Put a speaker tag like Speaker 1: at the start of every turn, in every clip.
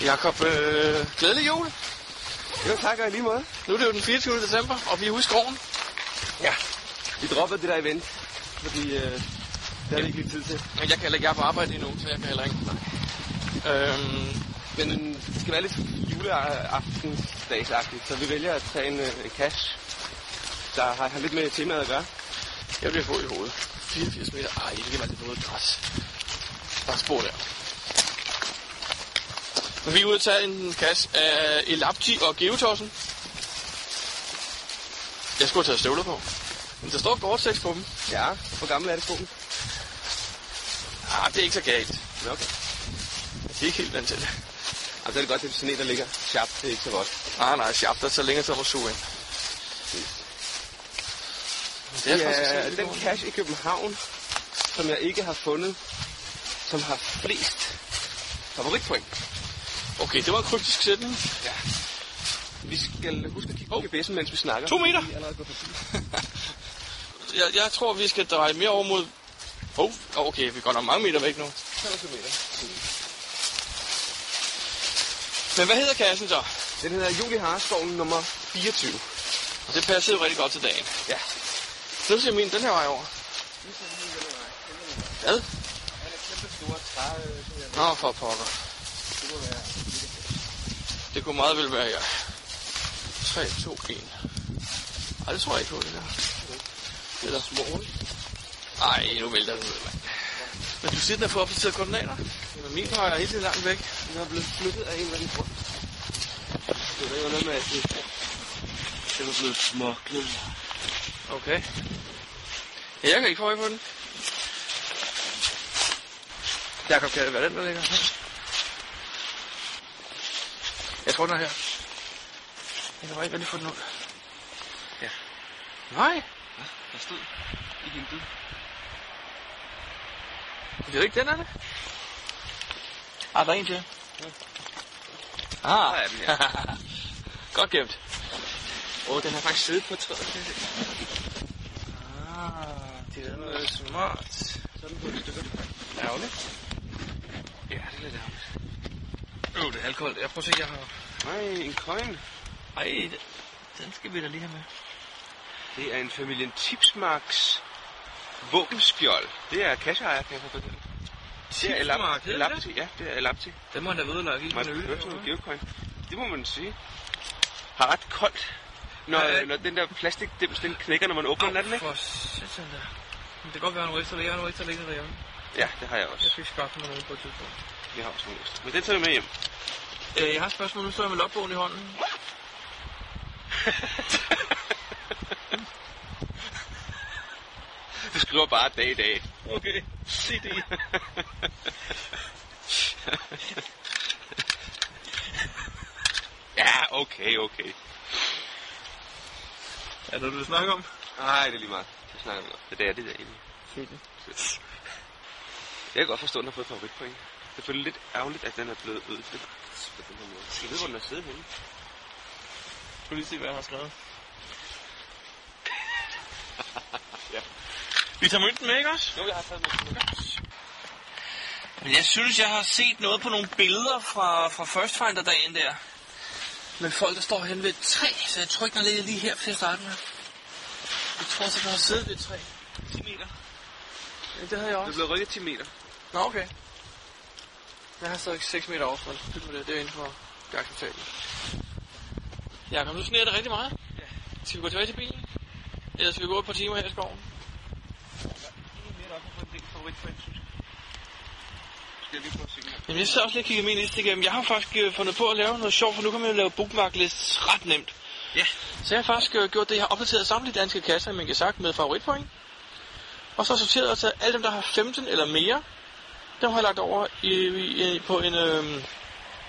Speaker 1: Jakob, øh, glædelig jul.
Speaker 2: Jo, tak og i lige måde.
Speaker 1: Nu er det jo den 24. december, og vi er ude i skoven.
Speaker 2: Ja, vi droppede det der event, fordi øh, der er det ikke lige tid til.
Speaker 1: Men jeg kan heller ikke jeg er på arbejde endnu, så jeg kan heller ikke. Øhm,
Speaker 2: Men øh, det skal være lidt juleaftensdagsagtigt, så vi vælger at tage en, øh, en cash, der har, har lidt med temaet at gøre.
Speaker 1: jeg bliver fået i hovedet. 84 meter. Ej, det kan være lidt noget græs. Der er spor der. Men vi er ude at tage en kasse af Elapti og Geotossen. Jeg skulle have taget støvler på. Men der står Gore-Tex på dem.
Speaker 2: Ja, hvor gammel er det skoen?
Speaker 1: Ah, det er ikke så galt.
Speaker 2: Nå, okay.
Speaker 1: Det er ikke helt vant til det.
Speaker 2: Jamen, så er det godt, det er sådan en, der ligger sharp. Det er ikke så godt.
Speaker 1: Nej, Ah, nej, sharp, der er så længe som at suge ind. Det er faktisk
Speaker 2: Ja,
Speaker 1: sådan, det
Speaker 2: den
Speaker 1: går.
Speaker 2: cash i København, som jeg ikke har fundet, som har flest favoritpoint.
Speaker 1: Okay, det var en kryptisk sætning.
Speaker 2: Ja. Vi skal huske at kigge
Speaker 1: Hov.
Speaker 2: på GPS'en, mens vi snakker.
Speaker 1: To meter.
Speaker 2: Vi er allerede gået forbi.
Speaker 1: Jeg, jeg tror, vi skal dreje mere over mod... Oh, okay, vi går nok mange meter væk nu.
Speaker 2: 25 meter.
Speaker 1: Men hvad hedder kassen så?
Speaker 2: Den hedder Julie Harskoven nummer 24.
Speaker 1: Det passede jo rigtig godt til dagen.
Speaker 2: Ja.
Speaker 1: Nu ser min den her vej over. Hvad?
Speaker 2: Den er kæmpe store træ, øh, som jeg
Speaker 1: Nå, for pokker.
Speaker 2: det må være.
Speaker 1: Det kunne meget vel være jeg. 3, 2, 1. Ej, det tror jeg ikke på, det der. Det er små, Ej, nu vælter den ud, mand. Men du siger, den har fået opdateret koordinater? Men min peger hele tiden langt væk.
Speaker 2: Den er blevet flyttet af en eller anden grund. Det var jo noget med, at det, det var blevet smoklet.
Speaker 1: Okay. Ja, jeg kan ikke få øje på den. Jakob, kan det være den, der ligger her? Jeg tror, den er her. Jeg kan bare ikke rigtig få den ud.
Speaker 2: Ja.
Speaker 1: Nej,
Speaker 2: Der stod i din bid.
Speaker 1: men det er jo ikke den, er det? Ah, der er en til. Ah,
Speaker 2: Der er den, ja.
Speaker 1: godt gemt.
Speaker 2: Åh, oh, den har faktisk siddet på træet. kan jeg se.
Speaker 1: Ah, det er noget smart.
Speaker 2: Så er den på et stykke.
Speaker 1: Ærgerligt.
Speaker 2: Ja, det er det.
Speaker 1: Øh, det er alkohol. Jeg prøver at se, jeg har...
Speaker 2: Nej, en coin.
Speaker 1: Ej, den- den skal vi da lige have med.
Speaker 2: Det er en familien Tipsmarks våbenskjold. Det er kasseejer, kan jeg få fortælle. Det er
Speaker 1: Tipsmark,
Speaker 2: Elapti.
Speaker 1: hedder det
Speaker 2: Elapti, ja, det er Elapti.
Speaker 1: Den må han da vedlagt i
Speaker 2: Man
Speaker 1: en øl.
Speaker 2: hører sådan
Speaker 1: eller
Speaker 2: noget
Speaker 1: hvad?
Speaker 2: geocoin. Det må man sige. Har ret koldt, når,
Speaker 1: Ja, ja.
Speaker 2: når den der plastikdims, den knækker, når man åbner den, er den, ikke?
Speaker 1: For satan da. Men det kan godt være, han ryster. Jeg har en ryster liggende derhjemme.
Speaker 2: Ja, det har jeg
Speaker 1: Jeg
Speaker 2: også.
Speaker 1: skal skaffe mig noget på et tidspunkt.
Speaker 2: Vi har også nogle ekstra. Men den tager vi med hjem.
Speaker 1: Øh, jeg har et spørgsmål. Nu står jeg med lopbogen i hånden.
Speaker 2: Du skriver bare dag i dag.
Speaker 1: Okay, se det.
Speaker 2: Ja, okay, okay.
Speaker 1: Er det noget, du vil snakke om?
Speaker 2: Nej, det er lige meget. Det snakker vi om. Det er det der egentlig.
Speaker 1: Se det.
Speaker 2: Jeg kan godt forstå, at den har fået favoritpoint. Det føles lidt ærgerligt, at den er blevet ødelagt på den her måde. Jeg ved, hvor den har siddet henne.
Speaker 1: Skal vi lige se, hvad han har skrevet?
Speaker 2: Ja.
Speaker 1: Vi tager mønten med, ikke også?
Speaker 2: Jo, jeg har taget den.
Speaker 1: Men jeg synes, jeg har set noget på nogle billeder fra, fra First Finder-dagen der. Med folk, der står hen ved et træ, så jeg trykker lidt lige her til at starte med. Jeg tror, så der har siddet ved et træ.
Speaker 2: 10 meter.
Speaker 1: Ja, det havde jeg
Speaker 2: Den
Speaker 1: også.
Speaker 2: er blevet rykket 10 meter.
Speaker 1: Nå, okay. Jeg har stadig 6 meter overfor. Pyt med det, det er inden for det acceptable. Jakob, nu sneer det rigtig meget.
Speaker 2: Ja.
Speaker 1: Skal vi gå tilbage til bilen? Eller skal vi gå et par timer her i skoven?
Speaker 2: Lidt op og få en del favoritpoint, synes jeg. Skal jeg lige prøve at se her?
Speaker 1: Jamen, jeg sad også lige og kiggede min liste igennem. Jeg har faktisk øh, fundet på at lave noget sjovt, for nu kan man jo lave bookmarklists ret nemt.
Speaker 2: Ja.
Speaker 1: Så jeg har faktisk øh, gjort det, jeg har opdateret samtlige danske kasser, man kan sagt, med favoritpoint. Og så sorteret altså alle dem, der har 15 eller mere, dem har jeg lagt over i, i, i på en... Øh, nu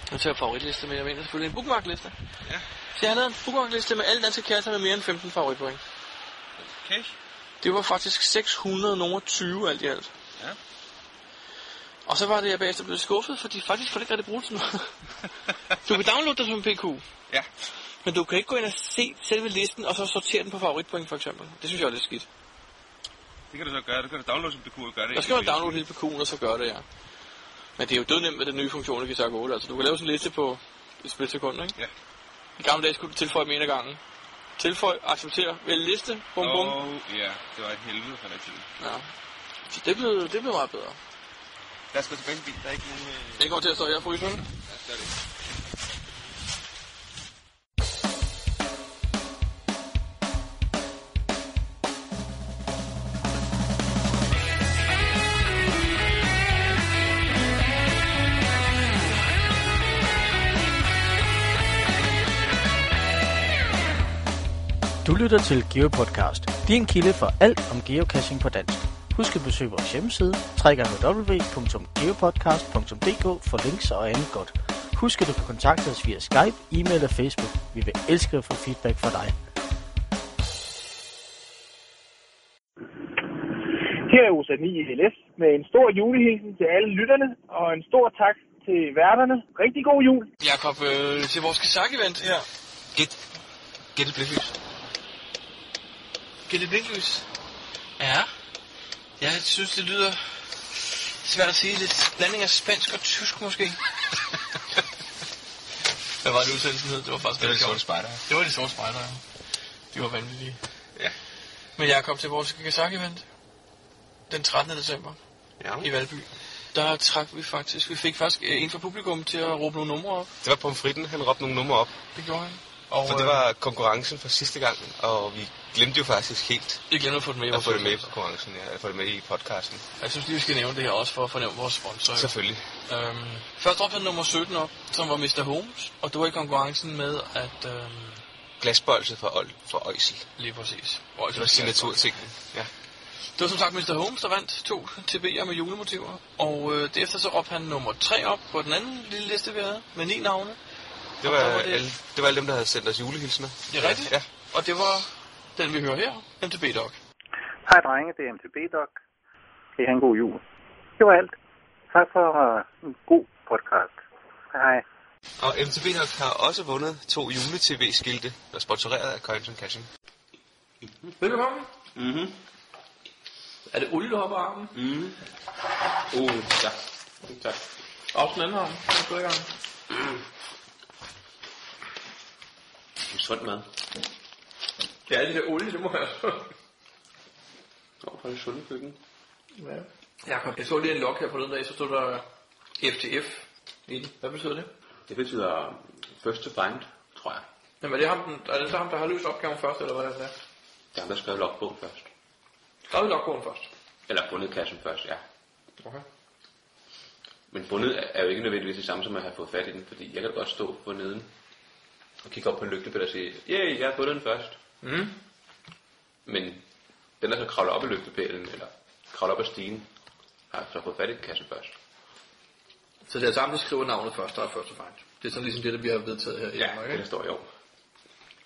Speaker 1: tager jeg favoritliste, men jeg mener selvfølgelig en bookmarkliste.
Speaker 2: Ja.
Speaker 1: Så jeg har lavet en bookmarkliste med alle danske kasser med mere end 15 favoritpoint.
Speaker 2: Okay.
Speaker 1: Det var faktisk 620 alt i alt.
Speaker 2: Ja.
Speaker 1: Og så var det, jeg bagefter blev skuffet, fordi faktisk får det ikke rigtig brugt til noget. Du kan downloade det som PQ,
Speaker 2: ja.
Speaker 1: men du kan ikke gå ind og se selve listen, og så sortere den på favoritpoint for eksempel. Det synes jeg er lidt skidt.
Speaker 2: Det kan du så gøre. Du kan da downloade som du kunne og gøre det.
Speaker 1: Der skal man downloade hele PQ'en, og så gøre det, ja. Men det er jo dødnemt med den nye funktion i Gizark 8. Altså, du kan lave sådan en liste på et splitsekund, ikke?
Speaker 2: Ja.
Speaker 1: I gamle dage skulle du tilføje dem en af gangen. Tilføj, accepter, vælg liste, bum bum.
Speaker 2: Og ja, det var et helvede for den tid.
Speaker 1: Ja. Så det blev, det blev meget bedre.
Speaker 2: Lad os gå tilbage til bilen. Der er ikke nogen... Øh...
Speaker 1: Det kommer til at stå her og fryse, ikke?
Speaker 2: Ja, der er det.
Speaker 3: Du lytter til GeoPodcast, din kilde for alt om geocaching på dansk. Husk at besøge vores hjemmeside, www.geopodcast.dk for links og andet godt. Husk at du kan kontakte os via Skype, e-mail og Facebook. Vi vil elske at få feedback fra dig.
Speaker 4: Her er OSA 9 LS med en stor julehilsen til alle lytterne og en stor tak til værterne. Rigtig god jul!
Speaker 1: Jakob, øh, til vores Gizark-event her.
Speaker 2: Gæt. Gæt et blinklys.
Speaker 1: Giv det blinklys. Ja. Jeg synes, det lyder svært at sige. Lidt blanding af spansk og tysk, måske. Hvad var det udsendelsen hed? Det var faktisk
Speaker 2: Det er
Speaker 1: rigtig
Speaker 2: det sorte
Speaker 1: sjovt.
Speaker 2: spejder.
Speaker 1: Det var de sorte spejdere. ja. De var vanvittige.
Speaker 2: Ja.
Speaker 1: Men Jakob, til vores Gazak-event den 13. december
Speaker 2: Ja.
Speaker 1: i Valby, der trak vi faktisk, vi fik faktisk øh, en fra publikum til at råbe nogle numre op.
Speaker 2: Det var pomfritten, han råbte nogle numre op.
Speaker 1: Det gjorde han. Og øh,
Speaker 2: For det var konkurrencen fra sidste gang, og vi glemte jo faktisk helt
Speaker 1: øh, jeg glemte at få det med. i
Speaker 2: at
Speaker 1: vores
Speaker 2: få det med i
Speaker 1: podcast.
Speaker 2: konkurrencen, ja, at få det med i podcasten.
Speaker 1: Jeg synes lige, vi skal nævne det her også for at fornemme vores sponsor. jo.
Speaker 2: Selvfølgelig.
Speaker 1: Øhm, først råbte han nummer 17 op, som var Mr. Holmes, og det var i konkurrencen med, at... Øhm,
Speaker 2: Glasbolse fra, Ol- fra Øjsel.
Speaker 1: lige præcis. Hvor jeg
Speaker 2: Det var
Speaker 1: synes,
Speaker 2: signaturtingen. Ja.
Speaker 1: Det var som sagt Mr. Holmes, der vandt to TB'er med julemotiver. Og øh, derefter så råbte han nummer 3 op på den anden lille liste, vi havde, med ni navne.
Speaker 2: Det
Speaker 1: Og
Speaker 2: var,
Speaker 1: der var det-
Speaker 2: det... Alle, det var alle dem, der havde sendt os julehilsener.
Speaker 1: Det er rigtigt.
Speaker 2: Ja.
Speaker 1: Og det var den, vi hører her, MTB Dog.
Speaker 5: Hej drenge, det er MTB-Doc. Kan I have en god jul? Det var alt. Tak for øh, en god podcast. Hej.
Speaker 2: Og MTB Nok har også vundet to jule-tv-skilte, der er sponsoreret af Coins and Cashing.
Speaker 1: Velbekomme. Mm-hmm. Er det olie, der hopper armen? Mm.
Speaker 2: Mm-hmm.
Speaker 1: Uh, tak. Tak. Og den anden arm. Den går i gang.
Speaker 2: Sund mad.
Speaker 1: Ja, det der olie, det må jeg
Speaker 2: Over fra det sunde køkken.
Speaker 1: Ja. Jakob, jeg så lige en log her forleden dag, så stod der E FTF i den. Hvad betyder det?
Speaker 6: Det betyder first to find, tror jeg.
Speaker 1: Jamen, er det ham, den, er det så ham, der har løst opgaven først, eller hvordan det er?
Speaker 6: Der er der skrevet logbogen først.
Speaker 1: Der er vi logbogen først.
Speaker 6: Eller bundet kassen først, ja.
Speaker 1: Okay.
Speaker 6: Men bundet er- er jo ikke nødvendigvis det samme som at have fået fat i den, fordi jeg kan godt stå på neden og kigge op på en lygtepæl og sige, yay, jeg har bundet den først.
Speaker 1: Mm.
Speaker 6: Mm-hmm. Men den, der så kravler op i lygtepælen, eller kravler op ad stigen, har så fået fat i kassen først.
Speaker 1: Så det er sammen, der skriver navnet først, der er først og fremmest. Det er sådan ligesom det, der vi har vedtaget her i
Speaker 6: Ja,
Speaker 1: Danmark,
Speaker 6: det der
Speaker 1: ikke?
Speaker 6: står i år.
Speaker 1: Er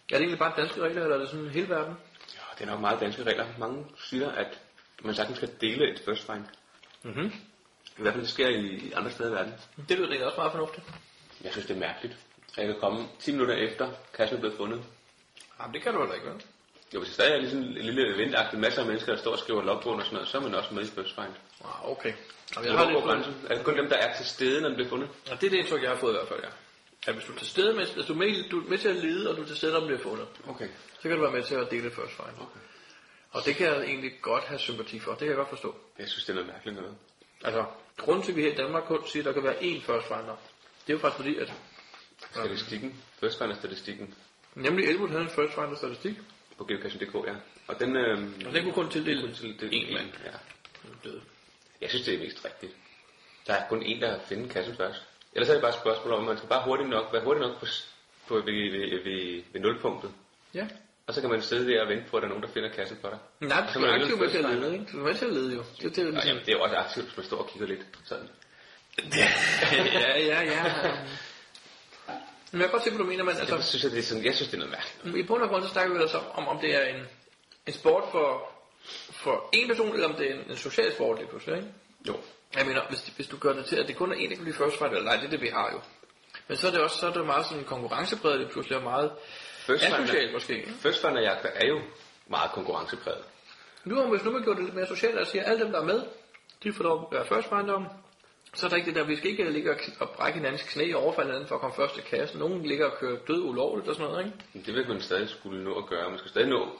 Speaker 1: det egentlig bare danske regler, eller er det sådan hele verden?
Speaker 6: Ja, det er nok meget danske regler. Mange siger, at man sagtens skal dele et first find. Mm-hmm.
Speaker 1: Mhm.
Speaker 6: I hvert fald det sker i andre steder i verden.
Speaker 1: Det lyder egentlig også meget fornuftigt.
Speaker 6: Jeg synes, det er mærkeligt. At jeg kan komme 10 minutter efter, kassen er blevet fundet,
Speaker 1: Jamen, det kan du heller ikke, vel?
Speaker 6: Jo, hvis der stadig er ligesom en lille eventagtig masser af mennesker, der står og skriver logbogen og sådan noget, så er man også med i First Find.
Speaker 1: Ah, okay. Jamen,
Speaker 6: Jeg
Speaker 1: jeg har lidt
Speaker 6: grænsen. Er det kun dem, der er til stede, når den bliver fundet?
Speaker 1: Og det er det indtryk, jeg har fået i hvert fald, ja. At hvis du er til stede med, hvis du er med, du er med til at lede, og du er til stede, om det er fundet,
Speaker 6: Okay.
Speaker 1: så kan du være med til at dele first find. Okay. Og det kan jeg egentlig godt have sympati for. Det kan jeg godt forstå.
Speaker 6: Jeg synes, det er noget mærkeligt noget.
Speaker 1: Altså, grunden til, at vi her i Danmark kun siger, at der kan være én first finder, det er jo faktisk fordi, at
Speaker 6: Statistikken. First Find er statistikken
Speaker 1: nemlig Elwood havde en first finder statistik,
Speaker 6: på geocaching.dk, ja. Og den... Øhm,
Speaker 1: og den kunne kun tildele
Speaker 6: kun til- det-
Speaker 1: én mand.
Speaker 6: Ja.
Speaker 1: Døde.
Speaker 6: Jeg synes, det er mest rigtigt. Der er kun én, der har fundet kassen først. Ellers er det bare et spørgsmål om, at man skal bare hurtigt nok, være hurtigt nok på, s- på ved, ved, ved, ved nulpunktet.
Speaker 1: Ja.
Speaker 6: Og så kan man sidde der og vente på, at der er nogen, der finder kassen for dig.
Speaker 1: Nej,
Speaker 6: Og så
Speaker 1: du
Speaker 6: er
Speaker 1: er
Speaker 6: man
Speaker 1: aktiv
Speaker 6: alligevel
Speaker 1: med til at
Speaker 6: first
Speaker 1: lede, ikke? Du er med til at lede jo. Det, det er
Speaker 6: finder. Ja,
Speaker 1: ligesom...
Speaker 6: jamen, det er jo også aktivt, hvis man står og kigger lidt sådan.
Speaker 1: ja, ja, ja. Men jeg kan godt se, hvad du mener, men altså...
Speaker 6: Jeg synes, at det er sådan, jeg synes, det er noget mærkeligt.
Speaker 1: I bund og grund så snakker vi altså om, om det er en, en sport for, for en person, eller om det er en, en social sport lige pludselig, ikke?
Speaker 6: Jo.
Speaker 1: Jeg mener, hvis, hvis du gør det til, at det kun er en, der kan blive first fighter, eller nej, det er det, vi har jo. Men så er det også så er det meget sådan konkurrencepræget lige pludselig, og meget
Speaker 6: First
Speaker 1: asocialt måske. ikke?
Speaker 6: First Runner jagter er jo meget konkurrencepræget.
Speaker 1: Nu har hvis nu man gjort det lidt mere socialt, og siger, at alle dem, der er med, de får lov at være first finder, Så er der ikke det der, vi skal ikke øh, ligge og, og brække hinandens knæ og overfalde hinanden for at komme først til kassen. Nogen ligger og kører død ulovligt og sådan noget, ikke?
Speaker 6: Men det vil man stadig skulle nå at gøre. Man skal stadig nå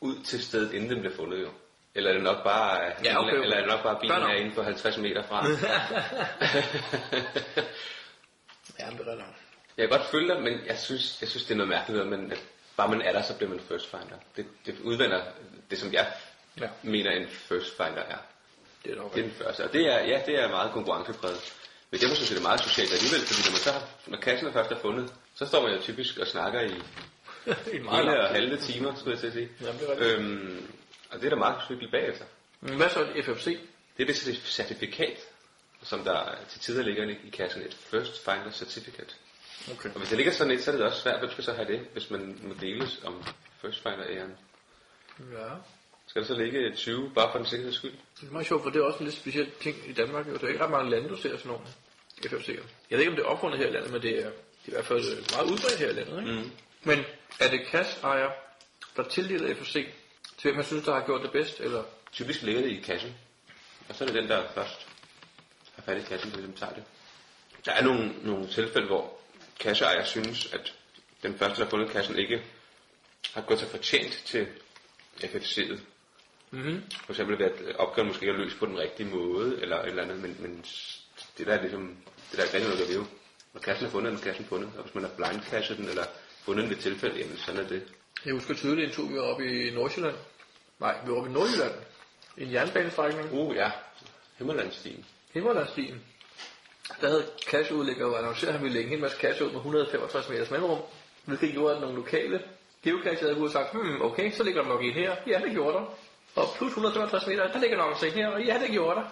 Speaker 6: ud til stedet, inden den bliver fundet jo. Eller er det nok bare,
Speaker 1: Ja, okay.
Speaker 6: eller, eller er det nok bare bilen
Speaker 1: Fair nok.
Speaker 6: er inden for 50 meter fra?
Speaker 1: Ja, men det er der.
Speaker 6: jeg kan godt følge dig, men jeg synes, jeg synes det er noget mærkeligt, noget, men at bare man er der, så bliver man first finder. Det, det udvender det, som jeg
Speaker 1: Ja.
Speaker 6: ja. mener, en first finder er.
Speaker 1: Det er nok
Speaker 6: Det er den første. Og det er, ja, det er meget konkurrencepræget. Men derfor synes jeg, det er meget socialt alligevel, fordi når, man så har, når kassen er først er fundet, så står man jo typisk og snakker i
Speaker 1: en meget
Speaker 6: hele og
Speaker 1: lang tid.
Speaker 6: halve timer, skulle jeg til at sige.
Speaker 1: Jamen, det er rigtigt.
Speaker 6: øhm, og det er da meget hyggeligt bagefter.
Speaker 1: Men Hvad så et FFC?
Speaker 6: Det er det certif- certifikat, som der til tider ligger i i kassen, et First Finder Certificate.
Speaker 1: Okay.
Speaker 6: Og hvis der ligger sådan et, så er det også svært, hvem skal så have det, hvis man må deles om First Finder æren.
Speaker 1: Ja.
Speaker 6: Skal der så ligge 20, bare for den sikkerheds skyld?
Speaker 1: Det er meget sjovt, for det er også en lidt speciel ting i Danmark. Jo. Der er ikke ret mange lande, du ser sådan nogle FFC'er. Jeg ved ikke, om det er opfundet her i landet, men det er, det er i hvert fald øh, meget udbredt her i landet. Ikke? Mm. Men er det kasseejer, der tildeler FFC til hvem man synes, der har gjort det bedst? Eller?
Speaker 6: Typisk ligger det i kassen. Og så er det den, der først har fat i kassen, der ligesom tager det. Der er nogle, nogle tilfælde, hvor kasseejer synes, at den første, der har fundet kassen, ikke har gået sig fortjent til FFC'et. Mm-hmm. For eksempel ved, at opgaven måske ikke er løst på den rigtige måde, eller et eller andet, men, men det der er ligesom, det der er ikke rigtig noget, der ved. Når kassen er fundet, er den kassen fundet, og hvis man har blindkasset den, eller fundet den ved tilfælde, jamen sådan er det.
Speaker 1: Jeg husker tydeligt en tur, vi var oppe i Nordsjælland. Nej, vi var oppe i Nordjylland. En jernbanestrækning.
Speaker 6: Uh ja, Himmerlandstien.
Speaker 1: Himmerlandsstien. Der havde kasseudlægger og annonceret, at han ville lægge en hel masse kasse ud med 165 meters mellemrum. Hvilket gjorde, at nogle lokale geokasser havde ud og sagt, hmm, okay, så ligger der nok en her. Ja, det gjorde der. Og plus 165 meter, der ligger nok en her. Og ja, det gjorde der.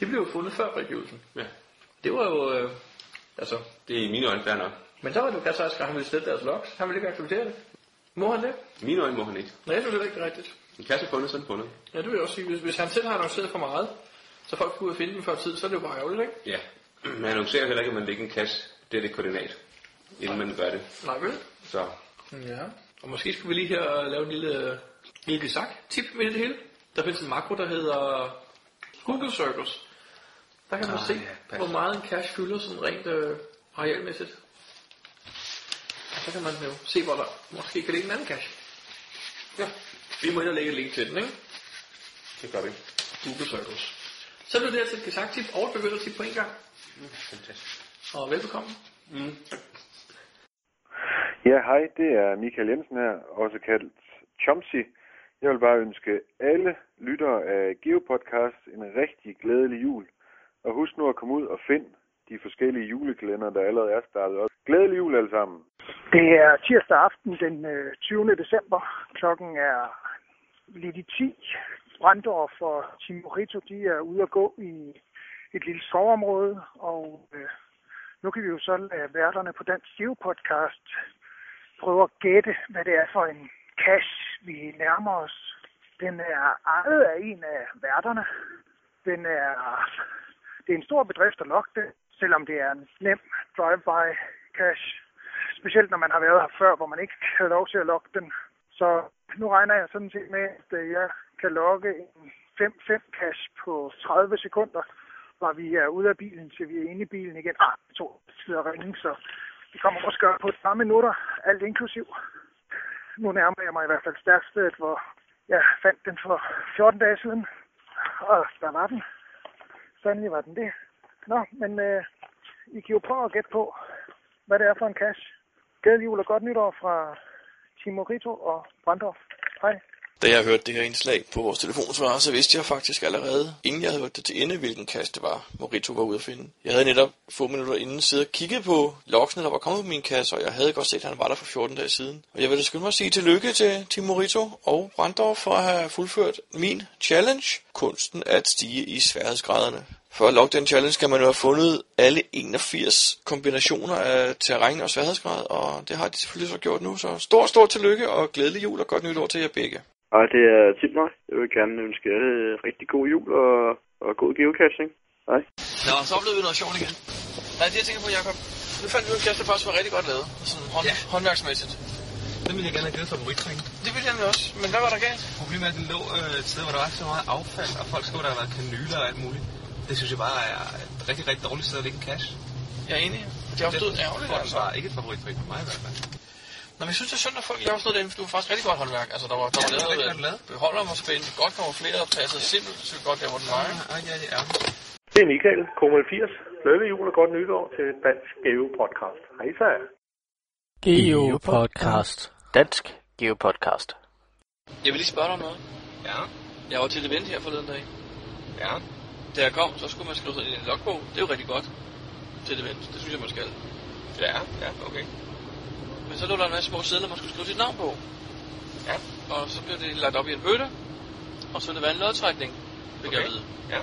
Speaker 1: Det blev jo fundet før frigivelsen.
Speaker 6: Ja.
Speaker 1: Det var jo, øh, altså...
Speaker 6: Det er i mine øjne fair nok.
Speaker 1: Men så var det jo kasser, at han ville slette deres loks. Han ville ikke acceptere det. Må han det?
Speaker 6: I mine øjne må han ikke.
Speaker 1: Nej, jeg synes det er ikke rigtigt.
Speaker 6: En kasse fundet, så er den fundet.
Speaker 1: Ja, det vil jeg også sige. Hvis, hvis han selv har annonceret for meget, så folk kunne ud og finde den før tid, så er det jo bare ærgerligt, ikke?
Speaker 6: Ja. Man annoncerer heller ikke, at man lægger en kasse. Det er det koordinat, inden man gør det.
Speaker 1: Nej, vel?
Speaker 6: Så
Speaker 1: Ja, og måske skulle vi lige her lave en lille, lille sak tip med det hele. Der findes en makro, der hedder Google Circles. Der kan man
Speaker 6: Ah,
Speaker 1: se,
Speaker 6: ja,
Speaker 1: ja,
Speaker 6: pas.
Speaker 1: hvor meget en cache fylder sådan rent øh, arealmæssigt. Og så kan man jo se, hvor der måske kan ligge en anden cache. Ja, vi må ind og lægge et link til den, ikke?
Speaker 6: det gør vi.
Speaker 1: Google Circles. Så blev det her til et gesagt-tip og et begyndertip på en gang.
Speaker 6: Mm, Fantastisk.
Speaker 1: Og velbekomme.
Speaker 7: Ja, hej, det er Michael Jensen her, også kaldt Chomsy. Jeg vil bare ønske alle lyttere af Geopodcast en rigtig glædelig jul. Og husk nu at komme ud og finde de forskellige julekalender, der allerede er startet op. Glædelig jul alle sammen!
Speaker 8: Det er tirsdag aften den øh, 20. december. Klokken er lidt i 10. Brandorf og Timorito, de er ude at gå i et lille skovområde, og øh, nu kan vi jo så lade værterne på Dansk Geopodcast prøve at gætte, hvad det er for en cash, vi nærmer os. Den er ejet af en af værterne. Den er, det er en stor bedrift at logge det, selvom det er en nem drive-by cash specielt når man har været her før, hvor man ikke havde lov til at logge den. Så nu regner jeg sådan set med, at øh, jeg kan logge en 5-5 cash på 30 sekunder, når vi er ude af bilen, til vi er inde i bilen igen. Ah, to sidder ringe, så vi kommer måske op på et par minutter, alt inklusiv. Nu nærmer jeg mig i hvert fald stærkstedet, hvor jeg fandt den for 14 dage siden. Og der var den. Sandelig var den det. Nå, men øh, I kan jo prøve at gætte på, hvad det er for en cash. Glædelig jul og godt nytår fra Timo Rito og Brandorf. Hej.
Speaker 1: Da jeg hørte det her indslag på vores telefonsvarer, så vidste jeg faktisk allerede, inden jeg havde hørt det til ende, hvilken kast det var, Morito var ude at finde. Jeg havde netop få minutter inden siddet og kigget på loksene, der var kommet på min kasse, og jeg havde godt set, at han var der for 14 dage siden. Og jeg vil da skynde mig at sige tillykke til Tim Morito og Brandorf for at have fuldført min challenge, kunsten at stige i sværhedsgraderne. For at logge den challenge skal man jo have fundet alle 81 kombinationer af terræn og sværhedsgrad, og det har de selvfølgelig så gjort nu. Så stor, stor tillykke og glædelig jul og godt nytår til jer begge.
Speaker 9: Hej, det er Tibnøj. Jeg vil gerne ønske alle rigtig god jul og, og god geocaching. Hej.
Speaker 1: Nå, så oplevede vi noget sjovt igen. Nej, det jeg tænker på, Jacob. Nu fandt vi en kasse, der faktisk var rigtig godt lavet. Sådan hånd, ja. håndværksmæssigt.
Speaker 10: Den ville jeg gerne have givet for Moritring.
Speaker 1: Det ville jeg nemlig også. Men hvad var der galt?
Speaker 10: Problemet er, at den lå øh, et sted, hvor der var så meget affald, og folk skulle der have været kanyler og alt muligt.
Speaker 6: Det synes jeg bare er et rigtig, rigtig dårligt sted at lægge en cash.
Speaker 1: Jeg er enig. Det er opstået ærgerligt,
Speaker 6: altså.
Speaker 1: altså.
Speaker 6: Var ikke et favoritpoint for mig i hvert fald.
Speaker 1: Nå, men jeg synes, det er synd, at folk ikke har forstået det, for du var faktisk rigtig godt håndværk. Altså, der var, der var
Speaker 6: det var rigtig
Speaker 1: lavet,
Speaker 6: godt
Speaker 1: lavet.
Speaker 6: lavet.
Speaker 1: beholder mig spændende, godt kommer flere og passer simpelthen så godt der, hvor den var. ikke?
Speaker 6: Ej, ja, det er ærgerligt.
Speaker 5: Det er Michael, Komel 80. Lykke jul og godt nytår til Dansk Geo Podcast. Hej så.
Speaker 3: Geo Podcast. Dansk Geo Podcast.
Speaker 1: Jeg vil lige spørge dig om noget.
Speaker 6: Ja,
Speaker 1: Jeg var til et event her forleden dag.
Speaker 6: ja.
Speaker 1: Da jeg kom, så skulle man skrive sig ind i en logbog. Det er jo rigtig godt til et event. Det synes jeg, man skal.
Speaker 6: Ja, ja, okay.
Speaker 1: Men så lå der en masse små sædler, man skulle skrive sit navn på. Ja. Og så blev det lagt op i en bøtte. Og så ville det være en lodtrækning, fik okay. jeg
Speaker 6: Okay.
Speaker 1: at vide.
Speaker 6: Ja.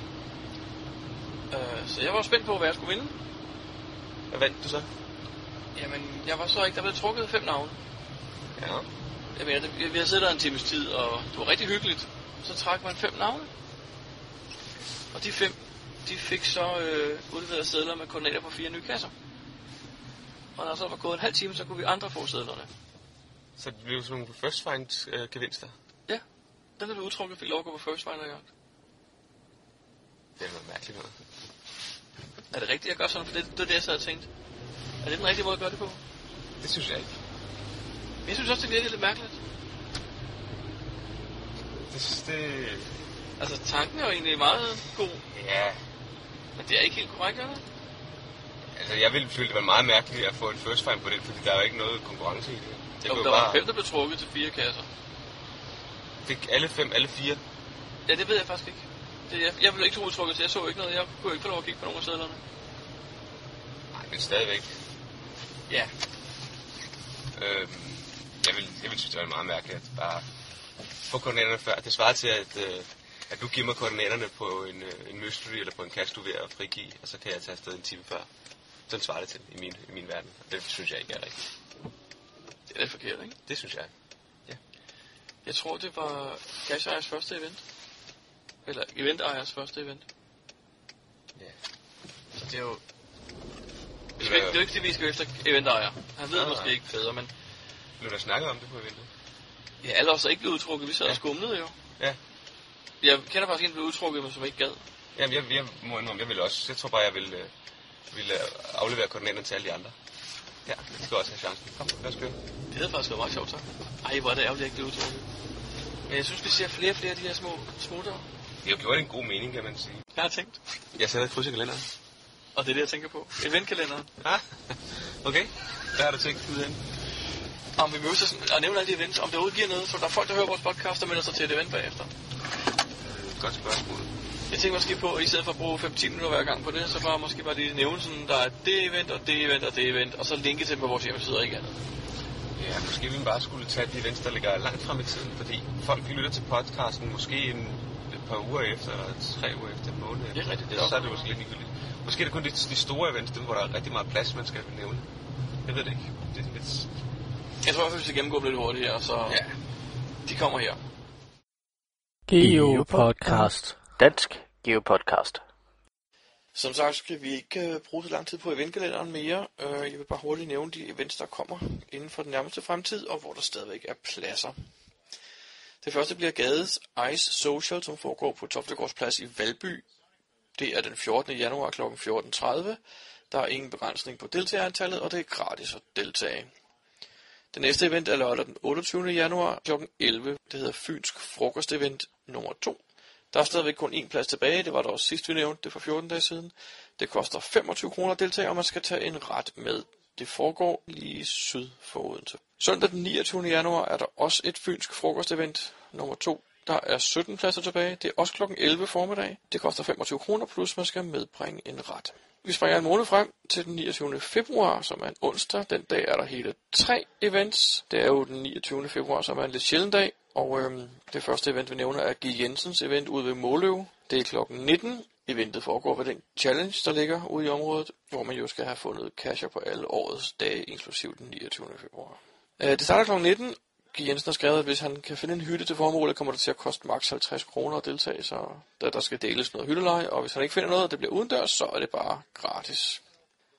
Speaker 1: Øh, så jeg var spændt på, hvad jeg skulle vinde.
Speaker 6: Hvad vandt du så?
Speaker 1: Jamen, jeg var så ikke. Der blev trukket fem navne.
Speaker 6: Ja.
Speaker 1: Jamen, jeg, vi har siddet der en times tid, og det var rigtig hyggeligt. Så trak man fem navne. Og de fem, de fik så øh, udleveret sædler med koordinater på fire nye kasser. Og når så var gået en halv time, så kunne vi andre få sædlerne.
Speaker 6: Så det blev sådan nogle first find øh, gevinster.
Speaker 1: Den der blev udtrukket, fik lov at gå på first finder jagt.
Speaker 6: Det er noget mærkeligt noget.
Speaker 1: Er det rigtigt, jeg gør sådan? For det, det er det, jeg sad og tænkte. Er det den rigtige måde at gøre det på?
Speaker 6: Det synes jeg ikke.
Speaker 1: Men Jeg synes også, det virker lidt mærkeligt.
Speaker 6: Det synes det...
Speaker 1: Altså, tanken er jo egentlig meget god,
Speaker 6: Ja,
Speaker 1: men det er ikke helt korrekt, er det?
Speaker 6: altså jeg ville føle, det var meget mærkeligt at få en first find på det, fordi der er jo ikke noget konkurrence i det. Det
Speaker 1: Jo,
Speaker 6: kunne
Speaker 1: der
Speaker 6: jo
Speaker 1: var fem, der blev trukket til fire kasser.
Speaker 6: Fik alle fem, alle fire.
Speaker 1: Ja, det ved jeg faktisk ikke. Det, jeg, jeg blev ikke så udtrykket, så jeg så ikke noget. Jeg kunne ikke få lov at kigge på nogen af sædlerne.
Speaker 6: Nej, men stadigvæk.
Speaker 1: Ja.
Speaker 6: Øhm, jeg vil, jeg vil synes, det var meget mærkeligt at bare få koordinaterne før. Det svarer til, at, øh, at du giver mig koordinaterne på en, øh, en mystery eller på en cash, du er ved at frigive, og så kan jeg tage afsted en time før. Sådan svarer det til i min, i min verden. Og det synes jeg ikke er rigtigt.
Speaker 1: Det er lidt forkert, ikke?
Speaker 6: Det synes jeg.
Speaker 1: Jeg tror, det var Cashejers første event. Eller Eventejers første event.
Speaker 6: Ja.
Speaker 1: Så det er jo... Vi skal, ikke- det er jo ikke, fordi vi skal efter eventejer. Han ved
Speaker 6: Nej,
Speaker 1: måske
Speaker 6: nej.
Speaker 1: ikke bedre, men
Speaker 6: Blev der snakket om det på eventet?
Speaker 1: ja, alle os, der ikke blev udtrukket, vi sad og
Speaker 6: Ja.
Speaker 1: skumlede jo.
Speaker 6: Ja.
Speaker 1: Jeg kender faktisk en, der blev udtrukket, men som ikke gad.
Speaker 6: Jamen, jeg, jeg må indrømme, jeg vil også. Jeg tror bare, jeg vil, øh, vil øh, aflevere koordinaterne til alle de andre. Ja, det skal også have chancen. Kom, lad os køre.
Speaker 1: Det havde faktisk været meget sjovt, så. Ej, hvor er det ærgerligt, jeg ikke blev udtrukket. Men jeg synes, vi ser flere og flere af de her små smutter.
Speaker 6: Det gjorde en god mening, kan man sige.
Speaker 1: Jeg har tænkt.
Speaker 6: Jeg sætter et kryds i kalenderen.
Speaker 1: Og det er det, jeg tænker på. Eventkalenderen.
Speaker 6: Ah, okay. Hvad har du tænkt ud af?
Speaker 1: Om vi mødes og sådan- og nævner alle de events, om det udgiver noget, så der er folk, der hører vores podcast, der melder sig til et event bagefter.
Speaker 6: Godt spørgsmål.
Speaker 1: Jeg tænker måske på, at i stedet for at bruge 5-10 minutter hver gang på det, så bare måske bare lige nævne sådan, der er det event, og det event, og det event, og så linke til dem på vores hjemmeside og ikke andet.
Speaker 6: Ja, måske vi bare skulle tage de events, der ligger langt frem i tiden, fordi folk de lytter til podcasten måske en, et par uger efter, eller tre uger efter, en måned efter.
Speaker 1: Det er rigtigt, det er
Speaker 6: Ellers så er
Speaker 1: nok.
Speaker 6: det måske lidt ligegyldigt. Måske er det kun de, de store events, dem hvor der er rigtig meget plads, man skal nævne. Jeg ved det ikke. Det er lidt...
Speaker 1: Jeg tror i hvert fald, vi skal gennemgå dem lidt hurtigt her, så ja. de kommer her.
Speaker 3: Geo Podcast. Dansk Geo Podcast.
Speaker 1: Som sagt skal vi ikke øh, bruge så lang tid på eventkalenderen mere. Øh, jeg vil bare hurtigt nævne de events, der kommer inden for den nærmeste fremtid, og hvor der stadigvæk er pladser. Det første bliver Gades Ice Social, som foregår på Toftegårds Plads i Valby. Det er den 14. januar kl. 14.30. Der er ingen begrænsning på deltagerantallet, og det er gratis at deltage. Det næste event er lørdag den 28. januar kl. 11. Det hedder Fynsk Frokostevent nummer 2. Der er stadigvæk kun én plads tilbage, det var der også sidst, vi nævnte det for 14 dage siden. Det koster 25 kroner at deltage, og man skal tage en ret med. Det foregår lige syd for Odense. Søndag den 29. januar er der også et fynsk frokostevent nummer 2. Der er 17 pladser tilbage. Det er også kl. 11 formiddag. Det koster 25 kroner, plus man skal medbringe en ret. Vi springer en måned frem til den 29. februar, som er en onsdag. Den dag er der hele tre events. Det er jo den 29. februar, som er en lidt sjælden dag. Og øhm, det første event, vi nævner, er G. Jensens event ude ved Måløv. Det er klokken 19. Eventet foregår ved den challenge, der ligger ude i området, hvor man jo skal have fundet casher på alle årets dage, inklusiv den 29. februar. Øh, det starter klokken 19. G. Jensen har skrevet, at hvis han kan finde en hytte til formålet, kommer det til at koste maks 50 kroner at deltage, så der, der skal deles noget hytteleje, og hvis han ikke finder noget, og det bliver udendørs, så er det bare gratis.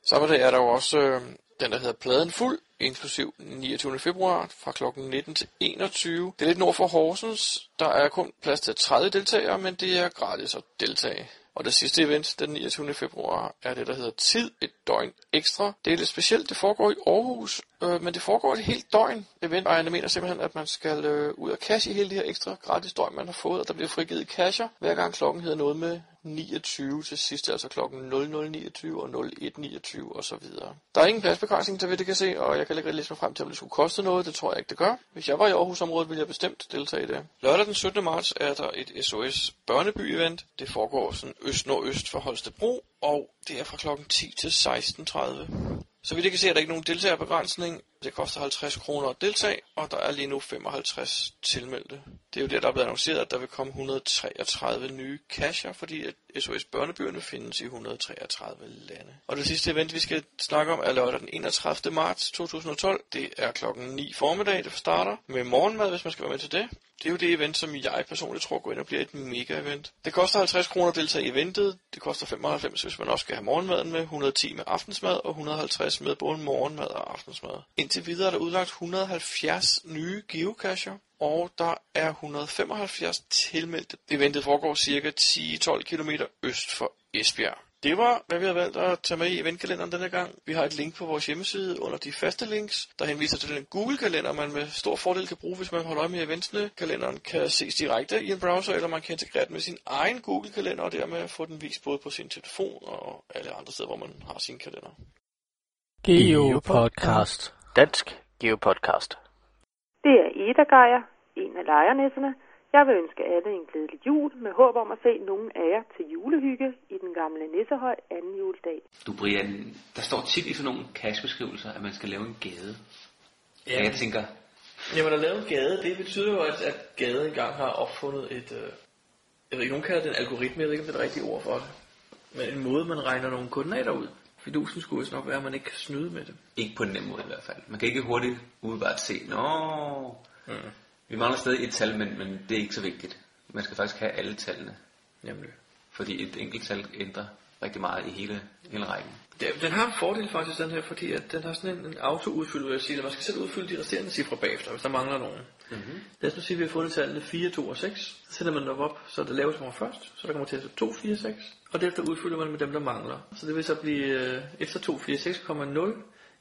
Speaker 1: Samme dag er der jo også øh, den, der hedder Pladen Fuld, inklusiv 29. februar fra kl. 19 til 21. Det er lidt nord for Horsens. Der er kun plads til 30 deltagere, men det er gratis at deltage. Og det sidste event, den 29. februar, er det, der hedder Tid et døgn ekstra. Det er lidt specielt, det foregår i Aarhus, øh, men det foregår et helt døgn. Eventejerne mener simpelthen, at man skal øh, ud og cashe hele det her ekstra gratis døgn, man har fået, og der bliver frigivet casher, hver gang klokken hedder noget med 29 til sidst, altså klokken 00.29 og 01.29 og så videre. Der er ingen pladsbegrænsning, så vidt jeg kan se, og jeg kan ikke rigtig læse mig frem til, om det skulle koste noget. Det tror jeg ikke, det gør. Hvis jeg var i Aarhusområdet, ville jeg bestemt deltage i det. Lørdag den 17. marts er der et SOS børneby-event. Det foregår sådan øst-nordøst for Holstebro, og det er fra klokken 10 til 16.30. Så vidt jeg kan se, er der ikke nogen deltagerbegrænsning. Det koster 50 kroner at deltage, og der er lige nu 55 tilmeldte. Det er jo det, der er blevet annonceret, at der vil komme 133 nye casher, fordi at SOS Børnebyerne findes i 133 lande. Og det sidste event, vi skal snakke om, er lørdag den 31. marts 2012. Det er klokken 9 formiddag, det starter med morgenmad, hvis man skal være med til det. Det er jo det event, som jeg personligt tror går ind og bliver et mega-event. Det koster 50 kroner at deltage i eventet, det koster 95, hvis man også skal have morgenmaden med, 110 med aftensmad og 150 med både morgenmad og aftensmad. Indtil videre er der udlagt 170 nye geocacher, og der er 175 tilmeldte. Eventet foregår cirka 10-12 km øst for Esbjerg. Det var, hvad vi har valgt at tage med i eventkalenderen denne gang. Vi har et link på vores hjemmeside under de faste links, der henviser til den Google-kalender, man med stor fordel kan bruge, hvis man holder øje med eventsene. Kalenderen kan ses direkte i en browser, eller man kan integrere den med sin egen Google-kalender, og dermed få den vist både på sin telefon og alle andre steder, hvor man har sin kalender.
Speaker 3: Geopodcast. Dansk Geopodcast.
Speaker 11: Det er Eda Geier, en af lejernæsserne. Jeg vil ønske alle en glædelig jul med håb om at se nogen af jer til julehygge i den gamle Nissehøj anden juledag.
Speaker 6: Du Brian, der står tit i sådan nogle cashbeskrivelser, at man skal lave en gade. Ja. Og jeg tænker,
Speaker 1: Jamen at lave en gade, det betyder jo, at, at gaden engang har opfundet et... Øh, jeg ved ikke, nogen kalder det en algoritme, jeg ved ikke, om det er det rigtige ord for det. Men en måde, man regner nogle koordinater ud. Fidusen skulle vist nok være, at man ikke kan snyde med det.
Speaker 6: ikke på den nemme måde i hvert fald. Man kan ikke hurtigt udebart se, nå, mm. vi mangler stadig et tal, men, men det er ikke så vigtigt. Man skal faktisk have alle tallene,
Speaker 1: Nemlig.
Speaker 6: fordi et enkelt tal ændrer rigtig meget i hele, hele rækken.
Speaker 1: Det, den har en fordel faktisk, den her, fordi at den har sådan en, en auto-udfyldt, vil jeg sige. eller Man skal selv udfylde de resterende cifre bagefter, hvis der mangler nogen. Mm-hmm. Lad os nu sige, at vi har fundet tallene 4, 2 og 6. Så sender man dem op, så det laveste kommer først, så der kommer til at stå 2, 4, 6. Og derefter udfylder man med dem, der mangler. Så det vil så blive, øh, efter 2, 4, 6 kommer 0,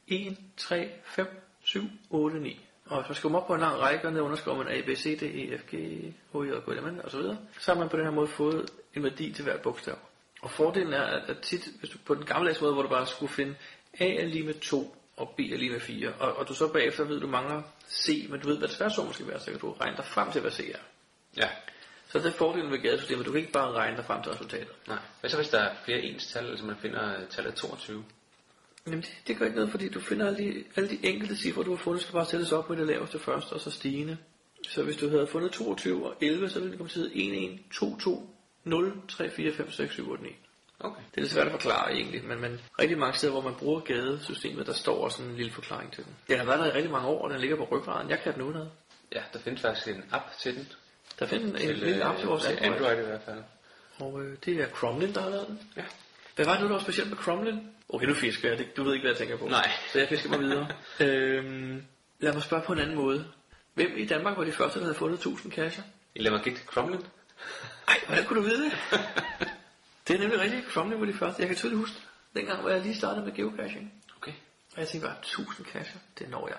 Speaker 1: 1, 3, 5, 7, 8, 9. Og hvis man skriver dem op på en lang række, og ned underskriver man A, B, C, D, E, F, G, H, I, J, K, L, M, N, og så videre, så har man på den her måde fået en værdi til hvert bogstav. Og fordelen er, at, at tit, hvis du på den gamle måde, hvor du bare skulle finde A er lige med 2, og B er lige med 4, og, og du så bagefter ved, at du mangler C, men du ved, hvad tværsummen skal være, så kan du regne dig frem til, hvad C er.
Speaker 6: Ja.
Speaker 1: Så det er fordelen ved gadesystemet, du kan ikke bare regne dig frem til resultatet.
Speaker 6: Nej. Hvad så hvis der er flere ens tal, altså man finder øh, tallet 22?
Speaker 1: Jamen det, det gør ikke noget, fordi du finder alle de, alle de enkelte cifre, du har fundet, skal bare sættes op med det laveste først, og så stigende. Så hvis du havde fundet 22 og 11, så ville det komme til at hedde 1, 1, 2, 2, 0, 3, 4, 5, 6, 7, 8, 9.
Speaker 6: Okay.
Speaker 1: Det er lidt svært at forklare egentlig, men, men rigtig mange steder, hvor man bruger gadesystemet, der står også en lille forklaring til den. Den har været der i rigtig mange år, og den ligger på ryggraden. Jeg kan den udenad.
Speaker 6: Ja, der findes faktisk en app til den.
Speaker 1: Der findes en, en
Speaker 6: Til,
Speaker 1: lille
Speaker 6: øh,
Speaker 1: app til vores
Speaker 6: til
Speaker 1: Android,
Speaker 6: Android i hvert fald.
Speaker 1: og øh, det er Cromlin, der har lavet den.
Speaker 6: Ja.
Speaker 1: Hvad var det nu, der var specielt med Cromlin? Okay, nu fisker jeg. Det- Du ved ikke, hvad jeg tænker på.
Speaker 6: Nej.
Speaker 1: Så jeg fisker mig videre. øhm, lad mig spørge på en anden måde. Hvem i Danmark var de første, der havde fundet 1000 kasser?
Speaker 6: Lad mig gætte Cromlin.
Speaker 1: Ej, hvordan kunne du vide det? det er nemlig rigtigt. Cromlin var de første. Jeg kan tydeligt huske, dengang, hvor jeg lige startede med geocaching.
Speaker 6: Okay.
Speaker 1: Og jeg tænkte bare, 1000 kasser, det når jeg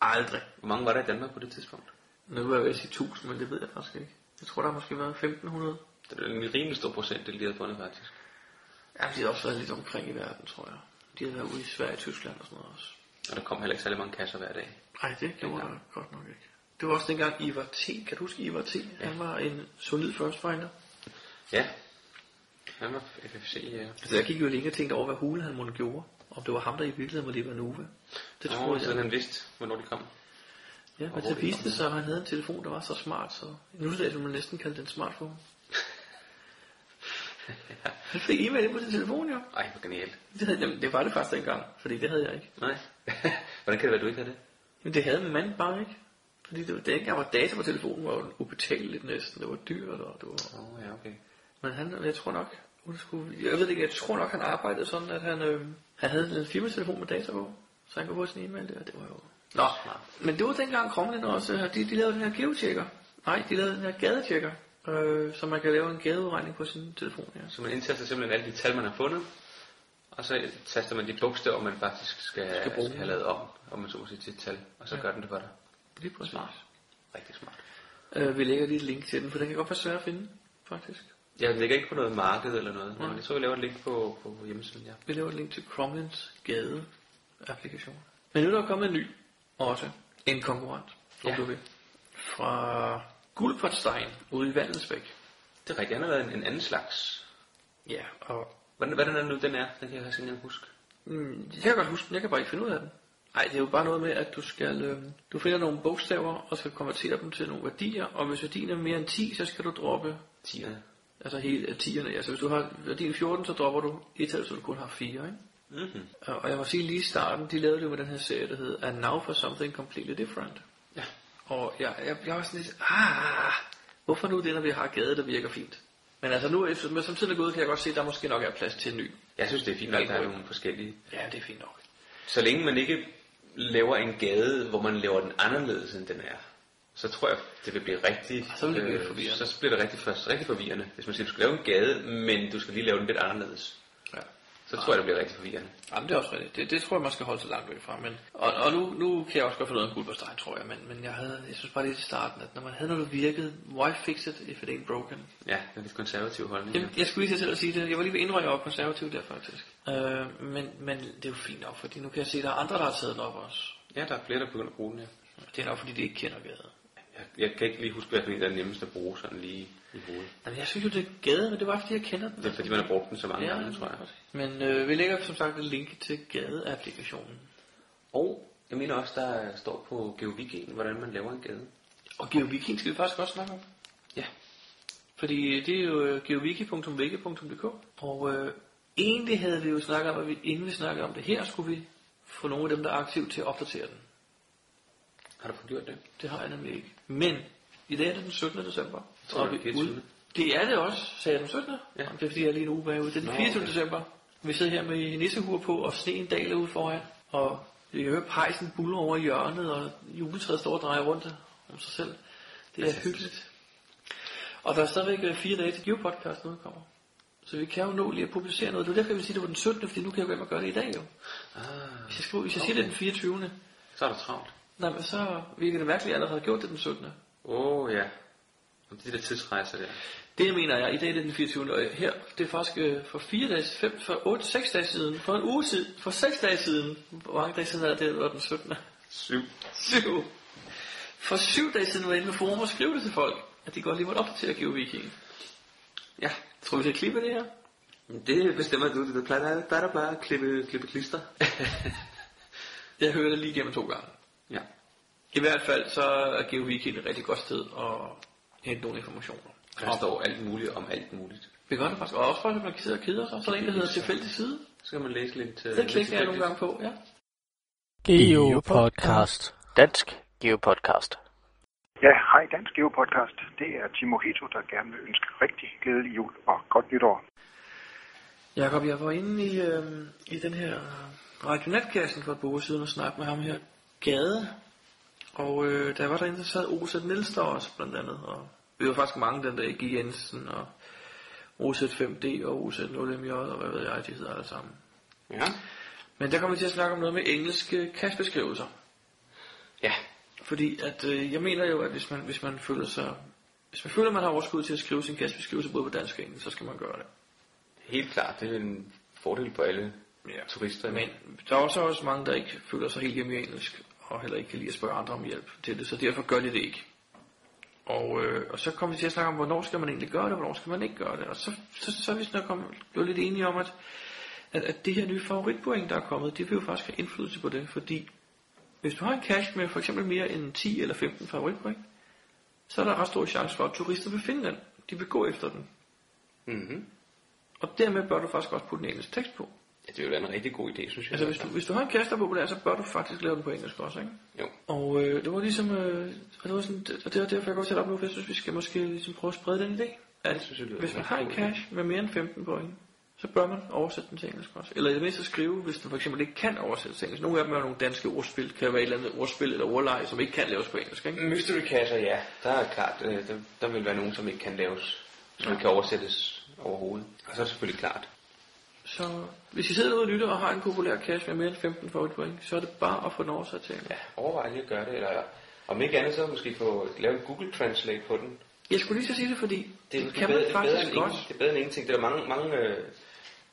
Speaker 1: aldrig.
Speaker 6: Hvor mange var der i Danmark på det tidspunkt?
Speaker 1: Nu vil jeg ved at sige 1000, men det ved jeg faktisk ikke. Jeg tror, der har måske været 1500.
Speaker 6: Det er en rimelig stor procent, det de havde fundet faktisk.
Speaker 1: Ja, de har også været lidt omkring i verden, tror jeg. De har været ude i Sverige og Tyskland og sådan noget også.
Speaker 6: Og der kom heller ikke særlig mange kasser hver dag.
Speaker 1: Nej, det gjorde der godt nok ikke. Det var også dengang Ivar T. Kan du huske Ivar T? Ja. Han var en solid first finder.
Speaker 6: Ja. Han var FFC, ja.
Speaker 1: Altså, jeg gik jo længe og tænkte over, hvad hulen han måtte gjorde. Om det var ham, der i virkeligheden var Liva Nova. Det
Speaker 6: Nå,
Speaker 1: troede
Speaker 6: så
Speaker 1: jeg.
Speaker 6: han vidste, hvornår de kom.
Speaker 1: Ja, men
Speaker 6: hvor
Speaker 1: så
Speaker 6: det
Speaker 1: viste
Speaker 6: kom
Speaker 1: det sig, at han havde en telefon, der var så smart, så nu vil man næsten kalde den smartphone. Han fik e-mail ind på sin telefon, jo.
Speaker 6: Ej, hvor genialt.
Speaker 1: Det, havde, jamen, det var det faktisk dengang, fordi det havde jeg ikke.
Speaker 6: Nej. Hvordan kan det være, du ikke havde det?
Speaker 1: Men det havde man bare ikke. Fordi det var dengang, hvor data på telefonen var jo ubetaleligt næsten. Det var dyrt, og det var...
Speaker 6: Åh, oh, ja, okay.
Speaker 1: Men han, jeg tror nok, hun skulle, jeg ved ikke, jeg tror nok, han arbejdede sådan, at han, øh, han havde en firmatelefon med data på, så han kunne få sin e-mail der, det var jo... Nå, men det var dengang Kromlen også, øh, de, de lavede den her geotjekker. Nej, de lavede den her gadetjekker. øh, så man kan lave en gadeudregning på sin telefon. Ja.
Speaker 6: Så man indtaster simpelthen alle de tal, man har fundet, og så taster man de bogstaver, man faktisk skal,
Speaker 1: Skal
Speaker 6: skal,
Speaker 1: bruge.
Speaker 6: skal have lavet om, om man så må sige, til et tal, og så
Speaker 1: Ja.
Speaker 6: ja. gør den det for dig.
Speaker 1: Lige præcis. Smart.
Speaker 6: Rigtig smart.
Speaker 1: Øh, vi lægger lige et link til den, for den kan godt være svær at finde, faktisk.
Speaker 6: Jeg lægger ikke på noget marked eller noget,
Speaker 1: Nej.
Speaker 6: men jeg tror, vi laver et link på, på hjemmesiden, ja.
Speaker 1: Vi laver et link til Cromlins gade applikation. Men nu er der kommet en ny, også en konkurrent, om
Speaker 6: Ja.
Speaker 1: du vil. Fra Gulpertstein ude i Vandelsbæk.
Speaker 6: Det er rigtigt, han har været en, en anden slags.
Speaker 1: Ja, og...
Speaker 6: Hvordan, hvordan er det nu, den er? Den kan jeg sådan ikke huske.
Speaker 1: Mm, jeg kan godt huske den, jeg kan bare ikke finde ud af den. Nej, det er jo bare noget med, at du skal øh, du finder nogle bogstaver, og skal konvertere dem til nogle værdier, og hvis værdien er mere end 10, så skal du droppe
Speaker 6: 10'erne.
Speaker 1: Altså hele 10'erne, altså hvis du har værdien 14, så dropper du et tal, så du kun har 4, ikke?
Speaker 6: Mhm.
Speaker 1: Og og jeg må sige lige i starten, de lavede det jo med den her serie, der hed And Now for Something Completely Different.
Speaker 6: Ja.
Speaker 1: Og jeg, jeg blev også sådan lidt, ah, hvorfor nu det, når vi har gade, der virker fint? Men altså nu, efter, men som tiden er gået, kan jeg godt se, at der måske nok er plads til en ny.
Speaker 6: Jeg synes, det er fint, at der er nogle forskellige.
Speaker 1: Ja, det er fint nok.
Speaker 6: Så længe man ikke laver en gade, hvor man laver den anderledes, end den er, så tror jeg, det vil blive rigtig... øh,
Speaker 1: Så vil det blive forvirrende.
Speaker 6: Så bliver det rigtig, for, rigtig forvirrende. Hvis man siger, du skal lave en gade, men du skal lige lave den lidt anderledes.
Speaker 1: Ja.
Speaker 6: Så tror jeg, det bliver rigtig forvirrende.
Speaker 1: Jamen det er også rigtigt. Det, det tror jeg, man skal holde sig langt væk fra. Men, og, og nu, nu kan jeg også godt få noget af Gulberstein, tror jeg. Men, men jeg, havde, jeg synes bare lige i starten, at når man havde noget, der virkede, why fix it if it ain't broken?
Speaker 6: Ja, det er lidt konservativ holdning.
Speaker 1: Jamen, jeg skulle lige til selv at sige det. Jeg var lige ved at indrømme, at jeg var konservativ der faktisk. Øh, men, men det er jo fint nok, fordi nu kan jeg se, at der er andre, der har taget den op også.
Speaker 6: Ja, der er flere, der begynder at bruge den, ja.
Speaker 1: Det er nok, fordi de ikke kender gader.
Speaker 6: Jeg, jeg kan ikke lige huske, hvad for en, der er nemmest at bruge sådan lige i hovedet.
Speaker 1: Jamen, jeg synes jo, det er gade, men det var, fordi jeg kender den.
Speaker 6: Det er fordi, man har brugt den så mange
Speaker 1: Ja,
Speaker 6: gange, tror jeg.
Speaker 1: Men øh, vi lægger som sagt et link til gadeapplikationen.
Speaker 6: Og jeg mener også, der står på GeoVigen, hvordan man laver en gade.
Speaker 1: Og GeoViking skal vi faktisk også snakke om.
Speaker 6: Ja.
Speaker 1: Fordi det er jo øh, geoviki.viki.dk Og øh, egentlig havde vi jo snakket om, at vi, inden vi snakkede om det her, skulle vi få nogle af dem, der er aktive til at opdatere den.
Speaker 6: Har du fået gjort det?
Speaker 1: Det har jeg nemlig ikke. Men i dag er det den 17. december.
Speaker 6: Jeg tror,
Speaker 1: Og
Speaker 6: det er
Speaker 1: vi-
Speaker 6: 24..
Speaker 1: ude- Det er det også, sagde jeg den 17. Ja. Det er fordi, jeg er lige en uge bagud. Det er den
Speaker 6: Nå,
Speaker 1: 24.
Speaker 6: okay.
Speaker 1: december. Vi sidder her med nissehuer på, og sneen daler ude foran. Og vi kan høre pejsen buller over i hjørnet, og juletræet står og drejer rundt om sig selv. Det er
Speaker 6: Fantastisk.
Speaker 1: hyggeligt. Og der er stadigvæk øh, fire dage til Geopodcasten udkommer. Så vi kan jo nå lige at publicere noget. Det er derfor, jeg vil sige, det var den 17. Fordi nu kan jeg gå hjem og gøre det i dag jo.
Speaker 6: Ah,
Speaker 1: Hvis jeg, skriver, hvis jeg okay. siger, det er den 24.
Speaker 6: så er du travlt.
Speaker 1: Nej, men så virker det mærkeligt, at jeg allerede har gjort det den 17.
Speaker 6: Åh oh, ja. Om de der tidsrejser der.
Speaker 1: Det mener jeg. I dag er det den 24. Og her, det er faktisk øh, for 4 dage, 5, for 8, 6 dage siden, for en uge siden, for 6 dage siden. Hvor mange dage siden er det, det var den 17.
Speaker 6: 7.
Speaker 1: 7. For 7 dage siden var jeg inde på forum og skrev det til folk, at de godt lige måtte opdatere GeoViking.
Speaker 6: Ja.
Speaker 1: Tror du, vi skal klippe det her?
Speaker 6: Det bestemmer du. Det plejer, plejer du bare at klippe, klippe klister.
Speaker 1: Jeg hørte det lige igennem to gange.
Speaker 6: Ja.
Speaker 1: I hvert fald så er GeoViking et rigtig godt sted at hente nogle informationer.
Speaker 6: Og Der står alt muligt om alt muligt.
Speaker 1: Vi gør det faktisk. Og også for, at man kan sidde og kede sig. Så er der en, der hedder tilfældig side.
Speaker 6: Så kan man læse lidt... øh,
Speaker 1: Den
Speaker 6: lidt
Speaker 1: klikker jeg nogle
Speaker 6: tilfældigt.
Speaker 1: gange på, ja.
Speaker 3: Geopodcast. Dansk Geopodcast.
Speaker 5: Ja, hej Dansk Geo Podcast. Det er Timo Heto, der gerne vil ønske rigtig glædelig jul og godt nytår.
Speaker 1: Jakob, jeg var inde i, øh, i den her radionetkassen for et par uger siden og snakkede med ham her, Gade. Og øh, der var derinde, der sad Oset Niels der også, blandt andet. Og vi var faktisk mange den der, G. Jensen og Oset 5D og Oset 0MJ og hvad ved jeg, de hedder alle sammen.
Speaker 6: Ja.
Speaker 1: Men der kom vi til at snakke om noget med engelske kastbeskrivelser.
Speaker 6: Ja.
Speaker 1: Fordi at, øh, jeg mener jo, at hvis man, hvis man føler sig... Hvis man føler, at man har overskud til at skrive sin kastbeskrivelse både på dansk og engelsk, så skal man gøre det.
Speaker 6: Helt klart. Det er en fordel for alle ja. turister.
Speaker 1: Men der er også, også mange, der ikke føler sig helt hjemme i engelsk, og heller ikke kan lide at spørge andre om hjælp til det, så derfor gør de det ikke. Og, øh, og så kom vi til at snakke om, hvornår skal man egentlig gøre det, og hvornår skal man ikke gøre det. Og så, så, så er vi sådan kom, blev lidt enige om, at, at, at det her nye favoritpoint, der er kommet, det vil jo faktisk have indflydelse på det, fordi hvis du har en cash med for eksempel mere end 10 eller 15 favoritpoint, så er der ret stor chance for, at turister vil finde den. De vil gå efter den.
Speaker 6: Mm-hmm.
Speaker 1: Og dermed bør du faktisk også putte en engelsk tekst på.
Speaker 6: Ja, det er jo en rigtig god idé, synes jeg.
Speaker 1: Altså, hvis du, hvis du har en kæreste, der er populær, så bør du faktisk lave den på engelsk også, ikke?
Speaker 6: Jo.
Speaker 1: Og øh, det var ligesom, øh, og det var sådan, det- og det er derfor, jeg går til at op nu, for jeg synes, vi skal måske ligesom prøve at sprede den idé. At
Speaker 6: lyder
Speaker 1: hvis man
Speaker 6: rigtig
Speaker 1: har en
Speaker 6: god
Speaker 1: cash med mere end 15 point, så bør man oversætte den til engelsk også. Eller i det mindste skrive, hvis den for eksempel ikke kan oversættes til engelsk. Nogle af dem er jo nogle danske ordspil, kan være et eller andet ordspil eller ordleje, som ikke kan laves på engelsk. Ikke?
Speaker 6: Mystery kasser, ja. Der er klart, øh, der, der vil være nogen, som ikke kan laves, som ikke kan oversættes overhovedet. Og så er det selvfølgelig klart.
Speaker 1: Så hvis I sidder derude og lytter og har en populær cash med mere end 15 for et point, så er det bare at få den oversat til engelsk.
Speaker 6: Overvej lige at gøre det, eller om ikke andet, så måske få lavet en Google Translate på den.
Speaker 1: Jeg skulle lige så sige det, fordi
Speaker 6: Det er
Speaker 1: det
Speaker 6: måske
Speaker 1: kan
Speaker 6: bedre,
Speaker 1: man faktisk
Speaker 6: bedre end
Speaker 1: godt.
Speaker 6: Ingen, det er bedre end ingenting. Det er der mange, mange øh,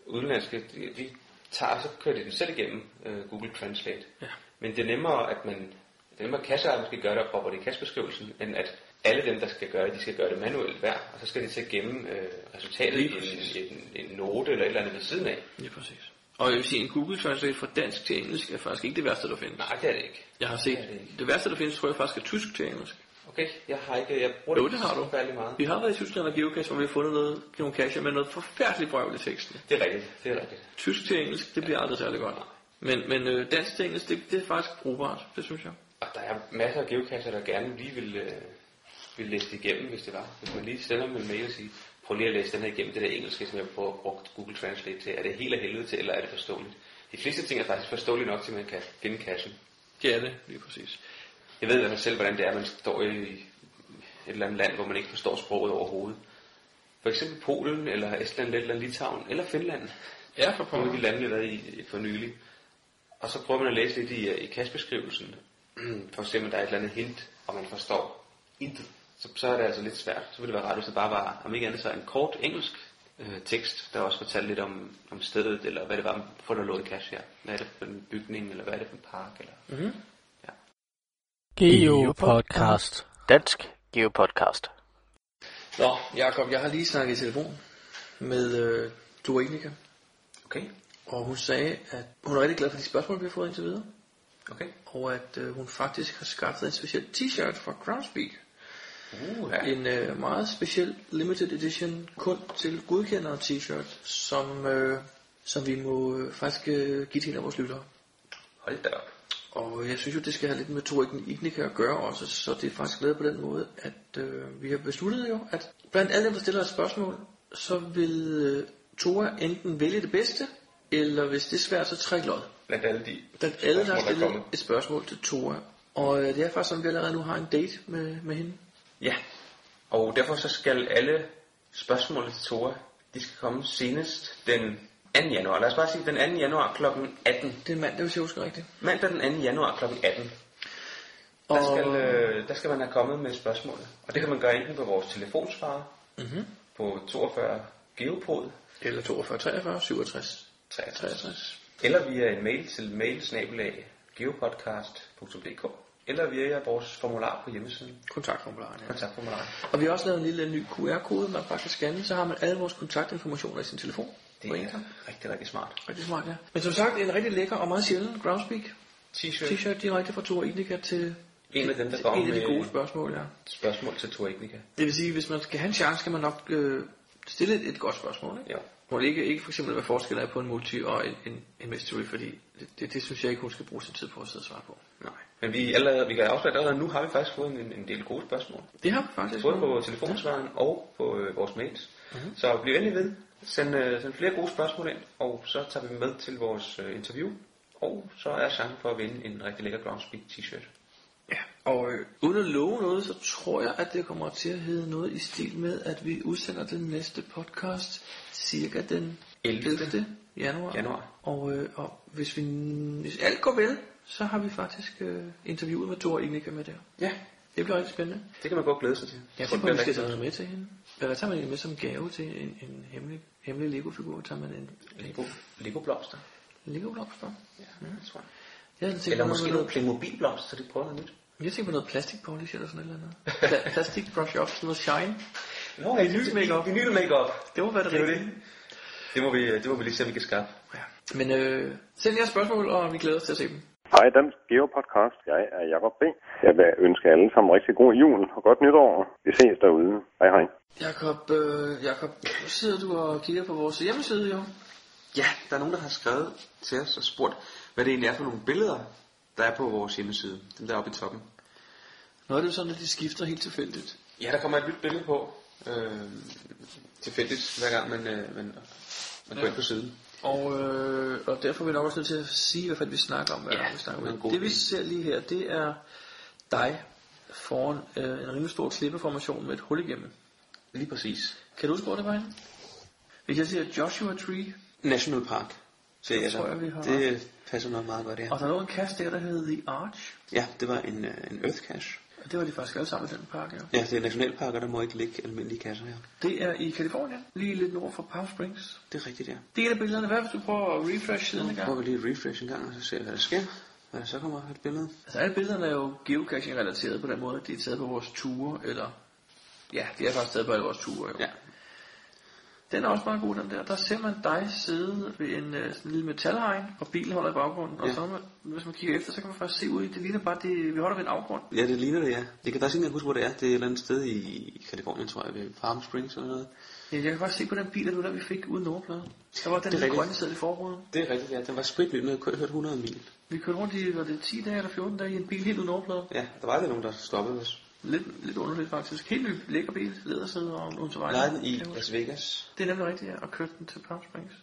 Speaker 6: udenlandske, de, de tager, og så kører de den selv igennem øh, Google Translate.
Speaker 1: Ja.
Speaker 6: Men det er nemmere, at man, det er nemmere at kasser måske gør det og propper det i kastbeskrivelsen, end at alle dem, der skal gøre det, de skal gøre det manuelt hver, og så skal de til at gemme øh, resultatet i
Speaker 1: Lige
Speaker 6: en, en, en, note eller et eller andet ved siden af.
Speaker 1: Ja, præcis. Og jeg vil sige, en Google Translate fra dansk til engelsk er faktisk ikke det værste, der findes.
Speaker 6: Nej, det er det ikke.
Speaker 1: Jeg har set, det, det, værste, der findes, tror jeg faktisk er tysk til engelsk.
Speaker 6: Okay, jeg har ikke, jeg bruger
Speaker 1: Jo,
Speaker 6: ikke
Speaker 1: det har
Speaker 6: så
Speaker 1: du.
Speaker 6: forfærdelig meget.
Speaker 1: Vi har været i Tyskland og geocache, hvor vi har fundet noget, nogle cacher med noget forfærdeligt brøvl i teksten.
Speaker 6: Det er rigtigt, det er rigtigt.
Speaker 1: Tysk til engelsk, det bliver aldrig særlig godt. Men, men øh, dansk til engelsk, det, det er faktisk brugbart, det synes jeg.
Speaker 6: Og der er masser af geokasser, der gerne lige vil, øh, vil læse det igennem, hvis det var. Hvis man lige sender dem en mail og siger, prøv lige at læse den her igennem, det der engelske, som jeg prøver at bruge Google Translate til. Er det helt af helvede til, eller er det forståeligt? De fleste ting er faktisk forståelige nok til, at man kan finde kassen.
Speaker 1: Det er det, lige præcis.
Speaker 6: Jeg ved i hvert fald selv, hvordan det er, at man står i et eller andet land, hvor man ikke forstår sproget overhovedet. For eksempel Polen, eller Estland, eller Litauen, eller Finland.
Speaker 1: Ja, for
Speaker 6: Nogle af de lande, jeg har været i for nylig. Og så prøver man at læse lidt i, øh, i kastbeskrivelsen, for at se, om der er et eller andet hint, og man forstår intet. Så, så er det altså lidt svært. Så ville det være rart, hvis det bare var, om ikke andet, så en kort engelsk øh, tekst, der også fortalte lidt om, om stedet, eller hvad det var for, der lå i cash her. Hvad er det for en bygning, eller hvad er det for en park? Eller...
Speaker 1: Mm-hmm.
Speaker 3: Geopodcast. Dansk Geopodcast.
Speaker 1: Nå, Jakob, jeg har lige snakket i telefon med øh, Dora Ignica.
Speaker 6: Okay.
Speaker 1: Og hun sagde, at hun er rigtig glad for de spørgsmål, vi har fået indtil videre.
Speaker 6: Okay.
Speaker 1: Og at øh, hun faktisk har skaffet en speciel t-shirt fra Groundspeak.
Speaker 6: Uh,
Speaker 1: En øh, meget speciel limited edition, kun til godkendere t-shirt, som, øh, som vi må øh, faktisk øh, give til en af vores lyttere.
Speaker 6: Hold da op.
Speaker 1: Og øh, jeg synes jo, det skal have lidt med Torikken Ignica at gøre også, så det er faktisk lavet på den måde, at øh, vi har besluttet jo, at blandt alle dem, der stiller et spørgsmål, så vil øh, Tora enten vælge det bedste, eller hvis det er svært, så trække lod.
Speaker 6: Blandt alle de
Speaker 1: Blandt alle, der har
Speaker 6: spørgsmål, er
Speaker 1: stillet
Speaker 6: kommet.
Speaker 1: et spørgsmål til Tora. Og øh, det er faktisk sådan, at vi allerede nu har en date med, med hende.
Speaker 6: Ja, og derfor så skal alle spørgsmål til Tora, de skal komme senest den 2. januar. Lad os bare sige den 2. januar kl. 18.
Speaker 1: Det er mandag, hvis jeg husker rigtigt.
Speaker 6: Mandag den 2. januar kl. 18. Der
Speaker 1: Og-
Speaker 6: skal, øh, der skal man have kommet med spørgsmål. Og det kan man gøre enten på vores telefonsvarer
Speaker 1: Mm-hmm.
Speaker 6: på 42 Geopod
Speaker 1: Eller 42, 43, 67.
Speaker 6: 63. Eller via en mail til mailsnabelag.geopodcast.dk Eller via vores formular på hjemmesiden. Altså
Speaker 1: Kontaktformularen, ja.
Speaker 6: Kontaktformularen.
Speaker 1: Og vi har også lavet en lille ny QR-kode, man bare kan scanne, så har man alle vores kontaktinformationer i sin telefon.
Speaker 6: Det
Speaker 1: På en
Speaker 6: er
Speaker 1: gang.
Speaker 6: rigtig, rigtig smart.
Speaker 1: Rigtig smart, ja. Men som sagt, en rigtig lækker og meget sjælden Groundspeak
Speaker 6: T-shirt.
Speaker 1: t-shirt direkte fra Tor Ignica til
Speaker 6: En af dem, der
Speaker 1: til
Speaker 6: kommer
Speaker 1: en af de
Speaker 6: med-
Speaker 1: gode spørgsmål, ja.
Speaker 6: Spørgsmål til Tor Ignica.
Speaker 1: Det vil sige, hvis man skal have en chance, skal man nok øh, stille et, et godt spørgsmål, ikke?
Speaker 6: Jo.
Speaker 1: Må det ikke, ikke for eksempel, hvad forskellen er på en multi og en, en, en mystery, fordi det, det, det, synes jeg ikke, hun skal bruge sin tid på at sidde og svare på.
Speaker 6: Nej. Men vi, allerede, vi kan afsløre, at allerede nu har vi faktisk fået en, en del gode spørgsmål.
Speaker 1: Det har vi faktisk.
Speaker 6: Både på
Speaker 1: nogle-
Speaker 6: telefonsvaren og på øh, vores mails.
Speaker 1: Mhm.
Speaker 6: Mm-hmm. Så bliv endelig ved. Send, øh, send flere gode spørgsmål ind, og så tager vi dem med til vores øh, interview. Og så er chancen for at vinde en rigtig lækker Groundspeak t-shirt.
Speaker 1: Og øh, uden at love noget, så tror jeg, at det kommer til at hedde noget i stil med, at vi udsender den næste podcast cirka den
Speaker 6: 11.
Speaker 1: 11. januar.
Speaker 6: Januar.
Speaker 1: Og, øh, og hvis, vi, hvis alt går vel, så har vi faktisk øh, interviewet med Thor Ignica med der.
Speaker 6: Ja.
Speaker 1: Det bliver rigtig spændende.
Speaker 6: Det kan man godt glæde sig til.
Speaker 1: Jeg tror,
Speaker 6: tror, det
Speaker 1: man
Speaker 6: bliver
Speaker 1: skal tage
Speaker 6: rigtig godt.
Speaker 1: noget med til hende. Eller hvad tager man egentlig med som gave til en, en hemmelig, hemmelig Lego-figur? Tager man en
Speaker 6: Lego, Lego blomster.
Speaker 1: Lego-blomster?
Speaker 6: Ja, det tror jeg.
Speaker 1: Jeg havde tænkt
Speaker 6: Eller
Speaker 1: mig
Speaker 6: måske
Speaker 1: noget-
Speaker 6: noget Playmobil blomster, så de prøver noget nyt.
Speaker 1: Jeg tænker på noget plastik polish eller sådan et eller andet. Pla- plastik brush up, sådan noget shine.
Speaker 6: Nå,
Speaker 1: vinyl makeup.
Speaker 6: Vinyl makeup.
Speaker 1: Det må være det
Speaker 6: Det er jo
Speaker 1: rigtige.
Speaker 6: Det må, vi, det må vi lige se, om vi kan skaffe.
Speaker 1: Men øh, send jeres spørgsmål, og vi glæder os til at se dem.
Speaker 7: Hej, Dansk Geo Podcast. Jeg er Jacob B. Jeg vil ønske alle sammen rigtig god jul og godt nytår. Vi ses derude. Hej hej.
Speaker 1: Jakob, øh, Jakob, nu sidder du og kigger på vores hjemmeside jo.
Speaker 6: Ja, der er nogen, der har skrevet til os og spurgt, hvad det egentlig er for nogle billeder, der er på vores hjemmeside. Dem der er oppe i toppen.
Speaker 1: Nu er det jo sådan, at de skifter helt tilfældigt.
Speaker 6: Ja, der kommer et nyt billede på. Øh, tilfældigt, hver gang man, øh, man
Speaker 2: Man går ind på siden.
Speaker 1: Og, øh, og derfor er vi nok også nødt til at sige, hvad fanden vi snakker om. Hvad ja, vi snakker om. Det vi ser lige her, det er dig foran øh, en rimelig stor klippeformation med et hul igennem.
Speaker 2: Lige præcis.
Speaker 1: Kan du huske, hvor det var henne? Hvis jeg siger Joshua Tree,
Speaker 2: National Park. Så
Speaker 1: Det
Speaker 2: jeg
Speaker 1: tror
Speaker 2: der.
Speaker 1: jeg, vi har
Speaker 2: Det passer nok meget godt, det
Speaker 1: og
Speaker 2: her.
Speaker 1: der lå en kast der, der hed The Arch,
Speaker 2: Ja, det var en, øh, en Earth Cache.
Speaker 1: og det var de faktisk alle sammen i den pakke. Ja.
Speaker 2: Ja, det er nationalparker, der må ikke ligge almindelige kasser her.
Speaker 1: Det er i Kalifornien, lige lidt nord for Palm Springs.
Speaker 2: Det er rigtigt, ja.
Speaker 1: Det er et af billederne. Hvad hvis du prøver at refresh siden en
Speaker 2: Nu prøver
Speaker 1: gang?
Speaker 2: vi lige et refresh en gang, og så ser vi, hvad der sker. Hvad der så kommer et billede.
Speaker 1: Altså alle billederne er jo geocaching-relateret på den måde, at de er taget på vores ture, eller... Ja, de er faktisk taget på alle vores ture, jo. Ja. Den er også meget god, den der. Der ser man dig sidde ved en øh, sådan en lille metalhegn, og bilen holder i baggrunden. Og
Speaker 2: Ja.
Speaker 1: så, har man, hvis man kigger efter, så kan man faktisk se ud i, det ligner bare, det, vi holder ved en afgrund.
Speaker 2: Ja, det ligner det, ja. Jeg kan faktisk ikke engang huske, hvor det er. Det er et eller andet sted i i Kalifornien, tror jeg, ved Palm Springs eller noget.
Speaker 1: Ja, jeg kan faktisk se på den bil, der, der vi fik uden nummerplade. Der var den
Speaker 2: Det er
Speaker 1: lille
Speaker 2: rigtigt.
Speaker 1: grønne sæde i forruden.
Speaker 2: Det er rigtigt, ja. Den var spritnyt, nu har jeg kørt 100 mil.
Speaker 1: Vi kørte rundt i, var det 10 dage eller 14 dage i en bil helt uden nummerplade.
Speaker 2: Ja, der var aldrig nogen, der stoppede os.
Speaker 1: Lidt, lidt underligt faktisk. Helt ny lækker bil, lædersæde og nogle til vejen.
Speaker 2: Lejede den i Las Vegas.
Speaker 1: Det er nemlig rigtigt, ja, og kørte den til Palm Springs.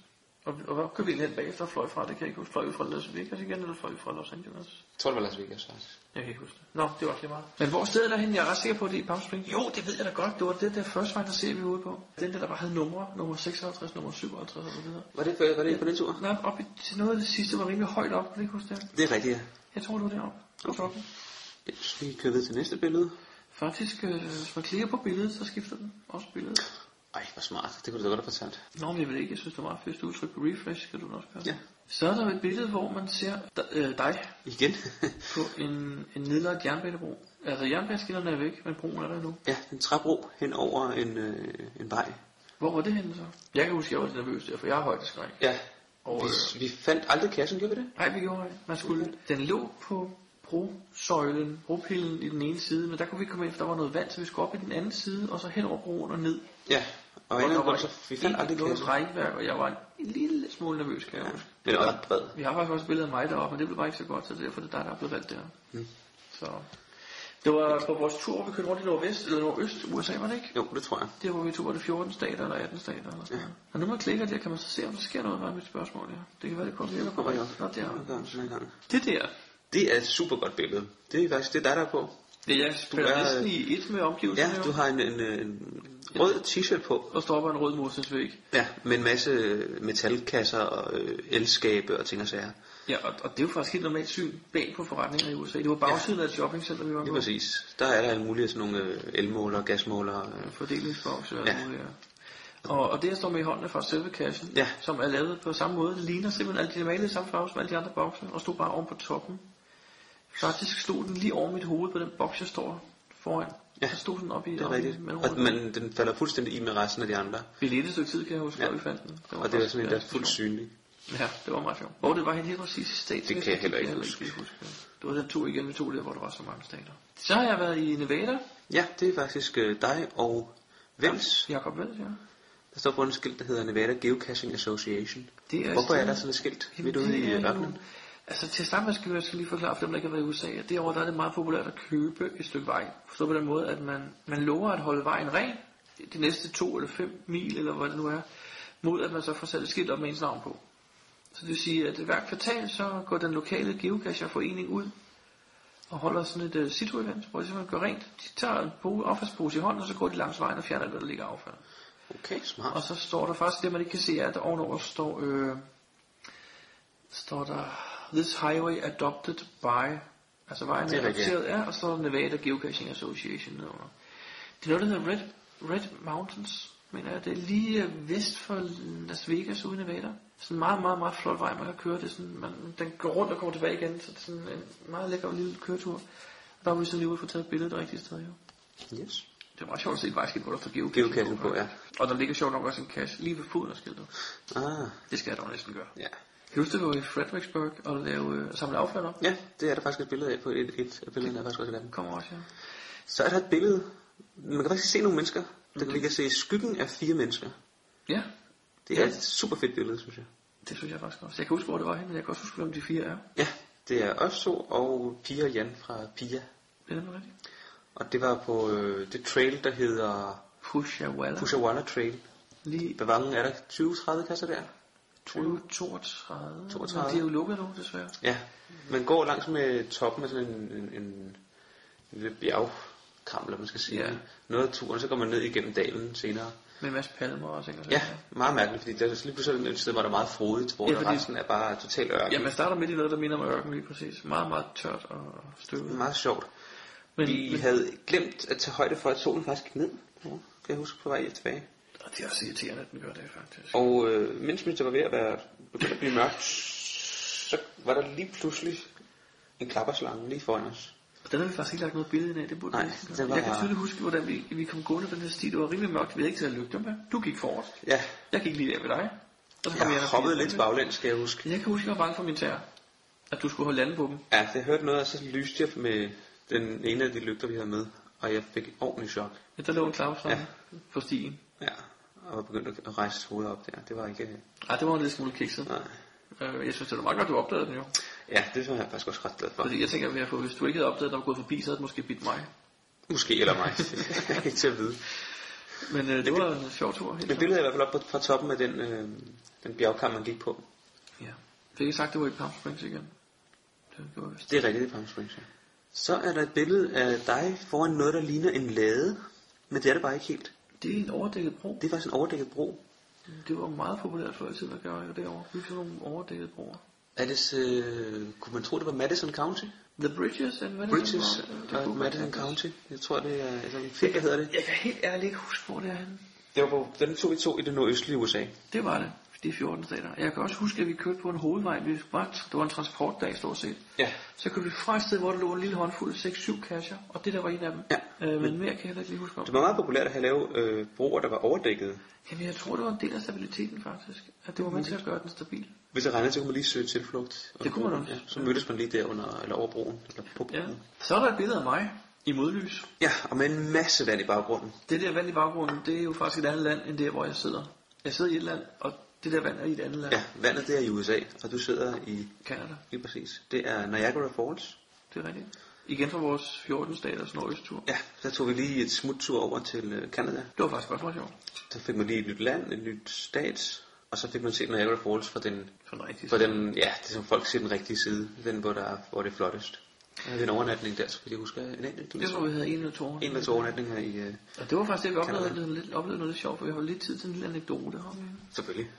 Speaker 1: Og, og hvor kørte vi hen bagefter og fløj fra? Det kan jeg ikke huske. Fløj vi fra Las Vegas igen, eller fløj vi fra Los Angeles?
Speaker 2: Jeg tror, det var Las Vegas, faktisk.
Speaker 1: Jeg kan ikke huske det. Nå, det var også lige meget. Men hvor stedet er henne? Jeg er ret sikker på, at det er i Palm Springs. Jo, det ved jeg da godt. Det var det der første vej, der ser vi ude på. Den der, der bare havde numre. Nummer 56, nummer 57 og så videre.
Speaker 2: Var det, var det ikke på den tur?
Speaker 1: Nej, op i, til noget af det sidste var rimelig højt op. Kan du ikke huske det?
Speaker 2: Det er rigtigt, ja.
Speaker 1: Jeg tror, det var deroppe. Okay.
Speaker 2: Ja, Så skal vi køre videre til næste billede.
Speaker 1: Faktisk, øh, hvis man klikker på billedet, så skifter den også billedet.
Speaker 2: Ej, hvor smart. Det kunne du da godt have fortalt.
Speaker 1: Nå, men jeg vil ikke. Jeg synes, det var meget fedt. Hvis du trykker på refresh, kan du den også gøre. det.
Speaker 2: Ja.
Speaker 1: Så er der et billede, hvor man ser d- øh, dig
Speaker 2: Igen.
Speaker 1: på en, en nedlagt jernbanebro. Altså jernbaneskinnerne er væk, men broen er der nu.
Speaker 2: ja, en træbro hen over en, øh, en vej.
Speaker 1: Hvor var det henne så? Jeg kan huske, at jeg var lidt nervøs der, for jeg har højdeskræk.
Speaker 2: Ja.
Speaker 1: Og, øh,
Speaker 2: vi, vi fandt aldrig kassen, gjorde vi det?
Speaker 1: Nej, vi gjorde ikke. Man skulle. Den lå på brosøjlen, bropillen i den ene side, men der kunne vi ikke komme ind, for der var noget vand, så vi skulle op i den anden side, og så hen over broen og ned.
Speaker 2: Ja. Og,
Speaker 1: Og
Speaker 2: og,
Speaker 1: der
Speaker 2: og
Speaker 1: var
Speaker 2: så, vi
Speaker 1: ikke
Speaker 2: fandt aldrig
Speaker 1: noget
Speaker 2: kassen.
Speaker 1: rækværk, og jeg var en lille smule nervøs, kan jeg huske.
Speaker 2: Den er ret bred.
Speaker 1: Vi har faktisk også billedet af mig deroppe, men det blev bare ikke så godt, så derfor er det dig, der er blevet valgt der.
Speaker 2: Mm.
Speaker 1: Så. Det var på vores tur, hvor vi kørte rundt i nordvest, eller nordøst, USA var det ikke?
Speaker 2: Jo, det tror jeg.
Speaker 1: Det hvor vi tog, var det 14 stater eller 18 stater eller sådan noget. Og nu man klikker der, kan man så se, om der sker noget, var mit spørgsmål her. Det kan være, det kommer virker
Speaker 2: Kommer
Speaker 1: korrekt.
Speaker 2: jeg
Speaker 1: Nå, det er
Speaker 2: op.
Speaker 1: Det der,
Speaker 2: Det er et super godt billede. Det er faktisk det, er dig, der er på.
Speaker 1: det er jeg spiller
Speaker 2: er-
Speaker 1: næsten i et med omgivelserne.
Speaker 2: Ja,
Speaker 1: jo.
Speaker 2: du har en, en, øh, en rød t-shirt på.
Speaker 1: Og står på en rød morsensvæg.
Speaker 2: Ja, med en masse metalkasser og øh, elskabe og ting og sager.
Speaker 1: Ja, og, og, det er jo faktisk helt normalt syn bag på forretninger i USA. Det var bagsiden ja. af et shoppingcenter, vi var
Speaker 2: Lige
Speaker 1: på.
Speaker 2: præcis. Der er der alle mulige sådan nogle øh, elmåler, gasmåler. Øh.
Speaker 1: fordelingsboks og
Speaker 2: Ja.
Speaker 1: ja. Og, og det, jeg står med i hånden, er fra selve kassen,
Speaker 2: Ja.
Speaker 1: som er lavet på samme måde. Det ligner simpelthen, at de er malet i samme farve som alle de andre bokser, og stod bare oven på toppen. Faktisk stod den lige over mit hoved på den boks, jeg står foran. Ja. Så stod den op i
Speaker 2: Det er rigtigt. Og man, den falder fuldstændig i med resten af de andre.
Speaker 1: Vi ledte et stykke tid, kan jeg huske,
Speaker 2: Ja.
Speaker 1: ja. vi fandt den.
Speaker 2: Og det er
Speaker 1: faktisk-
Speaker 2: sådan en, der er fuldt
Speaker 1: sjov.
Speaker 2: synlig.
Speaker 1: Ja, det var meget sjovt. Hvor det var helt, helt præcis i staten.
Speaker 2: Det kan jeg heller ikke
Speaker 1: huske. Det var den to igen, vi tog der, hvor der var så mange stater. Så har jeg været i Nevada.
Speaker 2: Ja, det er faktisk øh, dig og Vels,
Speaker 1: Jakob Vels, ja.
Speaker 2: der står på en skilt, der hedder Nevada Geocaching Association.
Speaker 1: Det er
Speaker 2: Hvorfor er
Speaker 1: sådan-
Speaker 2: der sådan et skilt
Speaker 1: Jamen,
Speaker 2: midt ude
Speaker 1: det
Speaker 2: i
Speaker 1: er
Speaker 2: øh,
Speaker 1: jo-
Speaker 2: ørkenen?
Speaker 1: Altså til sammen skal jeg skal lige forklare for dem, der ikke har været i USA, at derovre der er det meget populært at købe et stykke vej. Forstået på den måde, at man, man lover at holde vejen ren de næste to eller fem mil, eller hvad det nu er, mod at man så får sat et skilt op med ens navn på. Så det vil sige, at hver kvartal så går den lokale geocacherforening ud og holder sådan et uh, situ-event, hvor de simpelthen gør rent. De tager en po- affaldspose i hånden, og så går de langs vejen og fjerner, hvad der ligger af affald.
Speaker 2: Okay, smart.
Speaker 1: Og så står der faktisk, det man ikke kan se, er, at der ovenover står, øh, står der, This highway adopted by, altså vejen
Speaker 2: Det
Speaker 1: er
Speaker 2: er rigtigt, ja.
Speaker 1: adopteret af, og så er der Nevada Geocaching Association nedenunder. Det er noget, der hedder Red, Red Mountains, mener jeg. Det er lige øh, vest for Las Vegas ude i Nevada. Sådan en meget, meget, meget flot vej, man kan køre. Det er sådan, man, den går rundt og kommer tilbage igen, så det er sådan en meget lækker lille køretur. Og der var vi så lige ude og få taget billedet det rigtige sted, jo.
Speaker 2: Yes.
Speaker 1: Det var meget sjovt at se et vejskilt, hvor der står geocaching,
Speaker 2: Geocaching på, ja.
Speaker 1: Og der ligger sjovt nok også en cache lige ved foden af skiltet.
Speaker 2: Ah,
Speaker 1: Det skal jeg dog næsten gøre.
Speaker 2: ja.
Speaker 1: Kan du huske, det var i Fredericksburg og lave, øh, samle affald op?
Speaker 2: Ja, det er der faktisk et billede af på et, et af billederne, er faktisk også et af dem.
Speaker 1: Kommer også, ja.
Speaker 2: Så er der et billede. Man kan faktisk se nogle mennesker.
Speaker 1: Mhm.
Speaker 2: Der kan vi kan se skyggen af fire mennesker.
Speaker 1: Ja,
Speaker 2: Det er
Speaker 1: Ja.
Speaker 2: et super fedt billede, synes jeg.
Speaker 1: det synes jeg faktisk også. Jeg kan huske, hvor det var henne, men jeg kan også huske, hvem de fire er.
Speaker 2: Ja, det er os to og Pia og Jan fra Pia.
Speaker 1: Det er nemlig rigtigt.
Speaker 2: Og det var på øh, det trail, der hedder
Speaker 1: Pushawalla.
Speaker 2: Pushawalla Trail. Lige... Hvor mange er der? 20-30 kasser der?
Speaker 1: 20, 32.
Speaker 2: 32.
Speaker 1: Men de er jo lukket nu, desværre.
Speaker 2: Ja, man går langs med toppen af sådan en, en, en, en lille bjergkram, eller man skal sige.
Speaker 1: Ja.
Speaker 2: Ja. Noget af turen, så går man ned igennem dalen senere.
Speaker 1: Med en masse palmer og ting og sådan
Speaker 2: Ja, meget mærkeligt, fordi der, så lige pludselig er der et sted, hvor der er meget frodigt, hvor
Speaker 1: Ja,
Speaker 2: ja, fordi...
Speaker 1: fordi-
Speaker 2: resten er bare totalt ørken.
Speaker 1: Ja, man starter midt i noget, der minder om ørken lige præcis. Meget, meget tørt og støvet.
Speaker 2: Meget sjovt.
Speaker 1: Men-
Speaker 2: Men, vi
Speaker 1: men-
Speaker 2: havde glemt at tage højde for, at solen faktisk gik ned. Ja, kan jeg huske på vej tilbage.
Speaker 1: Og det er også irriterende, at den gør det, faktisk.
Speaker 2: Og øh, mens mens det var ved at være begyndt at blive mørkt, så var der lige pludselig en klapperslange lige foran os.
Speaker 1: Den har vi faktisk ikke lagt noget billede ind af, det burde
Speaker 2: Nej,
Speaker 1: vi næsten gøre.
Speaker 2: den var
Speaker 1: Jeg kan
Speaker 2: her.
Speaker 1: tydeligt huske, hvordan vi, vi kom gående på den her sti. Det var rimelig mørkt, vi havde ikke taget lygter med. Du gik forrest.
Speaker 2: Ja.
Speaker 1: Jeg gik lige der ved dig. Og så kom
Speaker 2: Jeg
Speaker 1: og
Speaker 2: hoppede
Speaker 1: spiste
Speaker 2: lidt
Speaker 1: med.
Speaker 2: baglæns, skal jeg huske.
Speaker 1: Jeg kan huske, jeg var bange for min tær. At du skulle holde landet på dem.
Speaker 2: Ja, jeg hørte noget, og så lyste jeg med den ene af de lygter, vi havde med. Og jeg fik ordentlig chok.
Speaker 1: Ja, der lå en klapperslange på stien.
Speaker 2: Ja, og var begyndt at rejse hovedet op der. Det var ikke...
Speaker 1: Nej, det var en lille smule kikset.
Speaker 2: Nej.
Speaker 1: Øh, jeg synes, det var meget godt, du opdagede den jo.
Speaker 2: Ja, det var jeg faktisk også ret glad for.
Speaker 1: Fordi jeg tænker, at hvis du ikke havde opdaget, at der var gået forbi, så havde det måske bidt mig.
Speaker 2: Måske eller mig. ikke til at vide.
Speaker 1: Men øh, det var en sjov tur. helt
Speaker 2: Men billedet er i hvert fald op på, fra toppen af den, øh, den bjergkamp, man gik på.
Speaker 1: Ja. Fik jeg sagt, det var i Palm Springs igen? Det gjorde jeg vist.
Speaker 2: Det er rigtigt, det er Palm Springs, ja. Så er der et billede af dig foran noget, der ligner en lade. Men det er det bare ikke helt.
Speaker 1: Det er en overdækket bro.
Speaker 2: Det er faktisk en overdækket bro.
Speaker 1: Det var meget populært før i tiden at gøre derovre. Bygge sådan nogle overdækkede broer.
Speaker 2: Er det, øh, kunne man tro, det var Madison County?
Speaker 1: The Bridges and Madison
Speaker 2: Bridges
Speaker 1: Broad, øh,
Speaker 2: og
Speaker 1: kunne
Speaker 2: Madison
Speaker 1: godt være.
Speaker 2: County. Jeg tror, det er altså, en film, der hedder det.
Speaker 1: Jeg kan helt ærligt ikke huske, hvor det er henne.
Speaker 2: Det var på den tog vi to i det nordøstlige USA.
Speaker 1: Det var det. De 14 stater. Jeg kan også huske, at vi kørte på en hovedvej. Vi var, det var en transportdag stort set.
Speaker 2: Ja.
Speaker 1: Så kørte vi fra et sted, hvor der lå en lille håndfuld 6-7 kasser, og det der var en af dem. Ja. Øh, men mere kan jeg heller ikke lige huske om.
Speaker 2: Det var meget populært at have lavet øh, broer, der var overdækket.
Speaker 1: Jamen, jeg tror, det var en del af stabiliteten faktisk. At det var
Speaker 2: Mm.
Speaker 1: med til at gøre den stabil.
Speaker 2: Hvis det regnede, så kunne man lige søge tilflugt.
Speaker 1: Det kunne man også.
Speaker 2: Ja, så mødtes man lige der under, eller over broen, eller på broen. Ja.
Speaker 1: Så er der et billede af mig i modlys.
Speaker 2: Ja, og med en masse vand i baggrunden.
Speaker 1: Det der vand i baggrunden, det er jo faktisk et andet land, end der, hvor jeg sidder. Jeg sidder i et land, og det der vand er i et andet land.
Speaker 2: Ja, vandet det er i USA, og du sidder i...
Speaker 1: Canada.
Speaker 2: Lige præcis. Det er Niagara Falls.
Speaker 1: Det er rigtigt. Igen fra vores 14 staters nordøsttur.
Speaker 2: Ja, der tog vi lige et smuttur over til øh, Canada.
Speaker 1: Det var faktisk godt meget sjovt.
Speaker 2: Så fik man lige et nyt land, et nyt stat, og så fik man set Niagara Falls fra den,
Speaker 1: fra den,
Speaker 2: fra den ja, det som folk ser den rigtige side, den hvor, der, er- hvor det er flottest. Jeg havde en overnatning der, så jeg husker en enkelt.
Speaker 1: Jeg tror, vi havde en eller to
Speaker 2: En eller to overnatninger i... Øh,
Speaker 1: Og det var faktisk det, vi
Speaker 2: Canada.
Speaker 1: oplevede, lidt, oplevede noget lidt sjovt, for vi har jo lidt tid til en lille anekdote her.
Speaker 2: Selvfølgelig.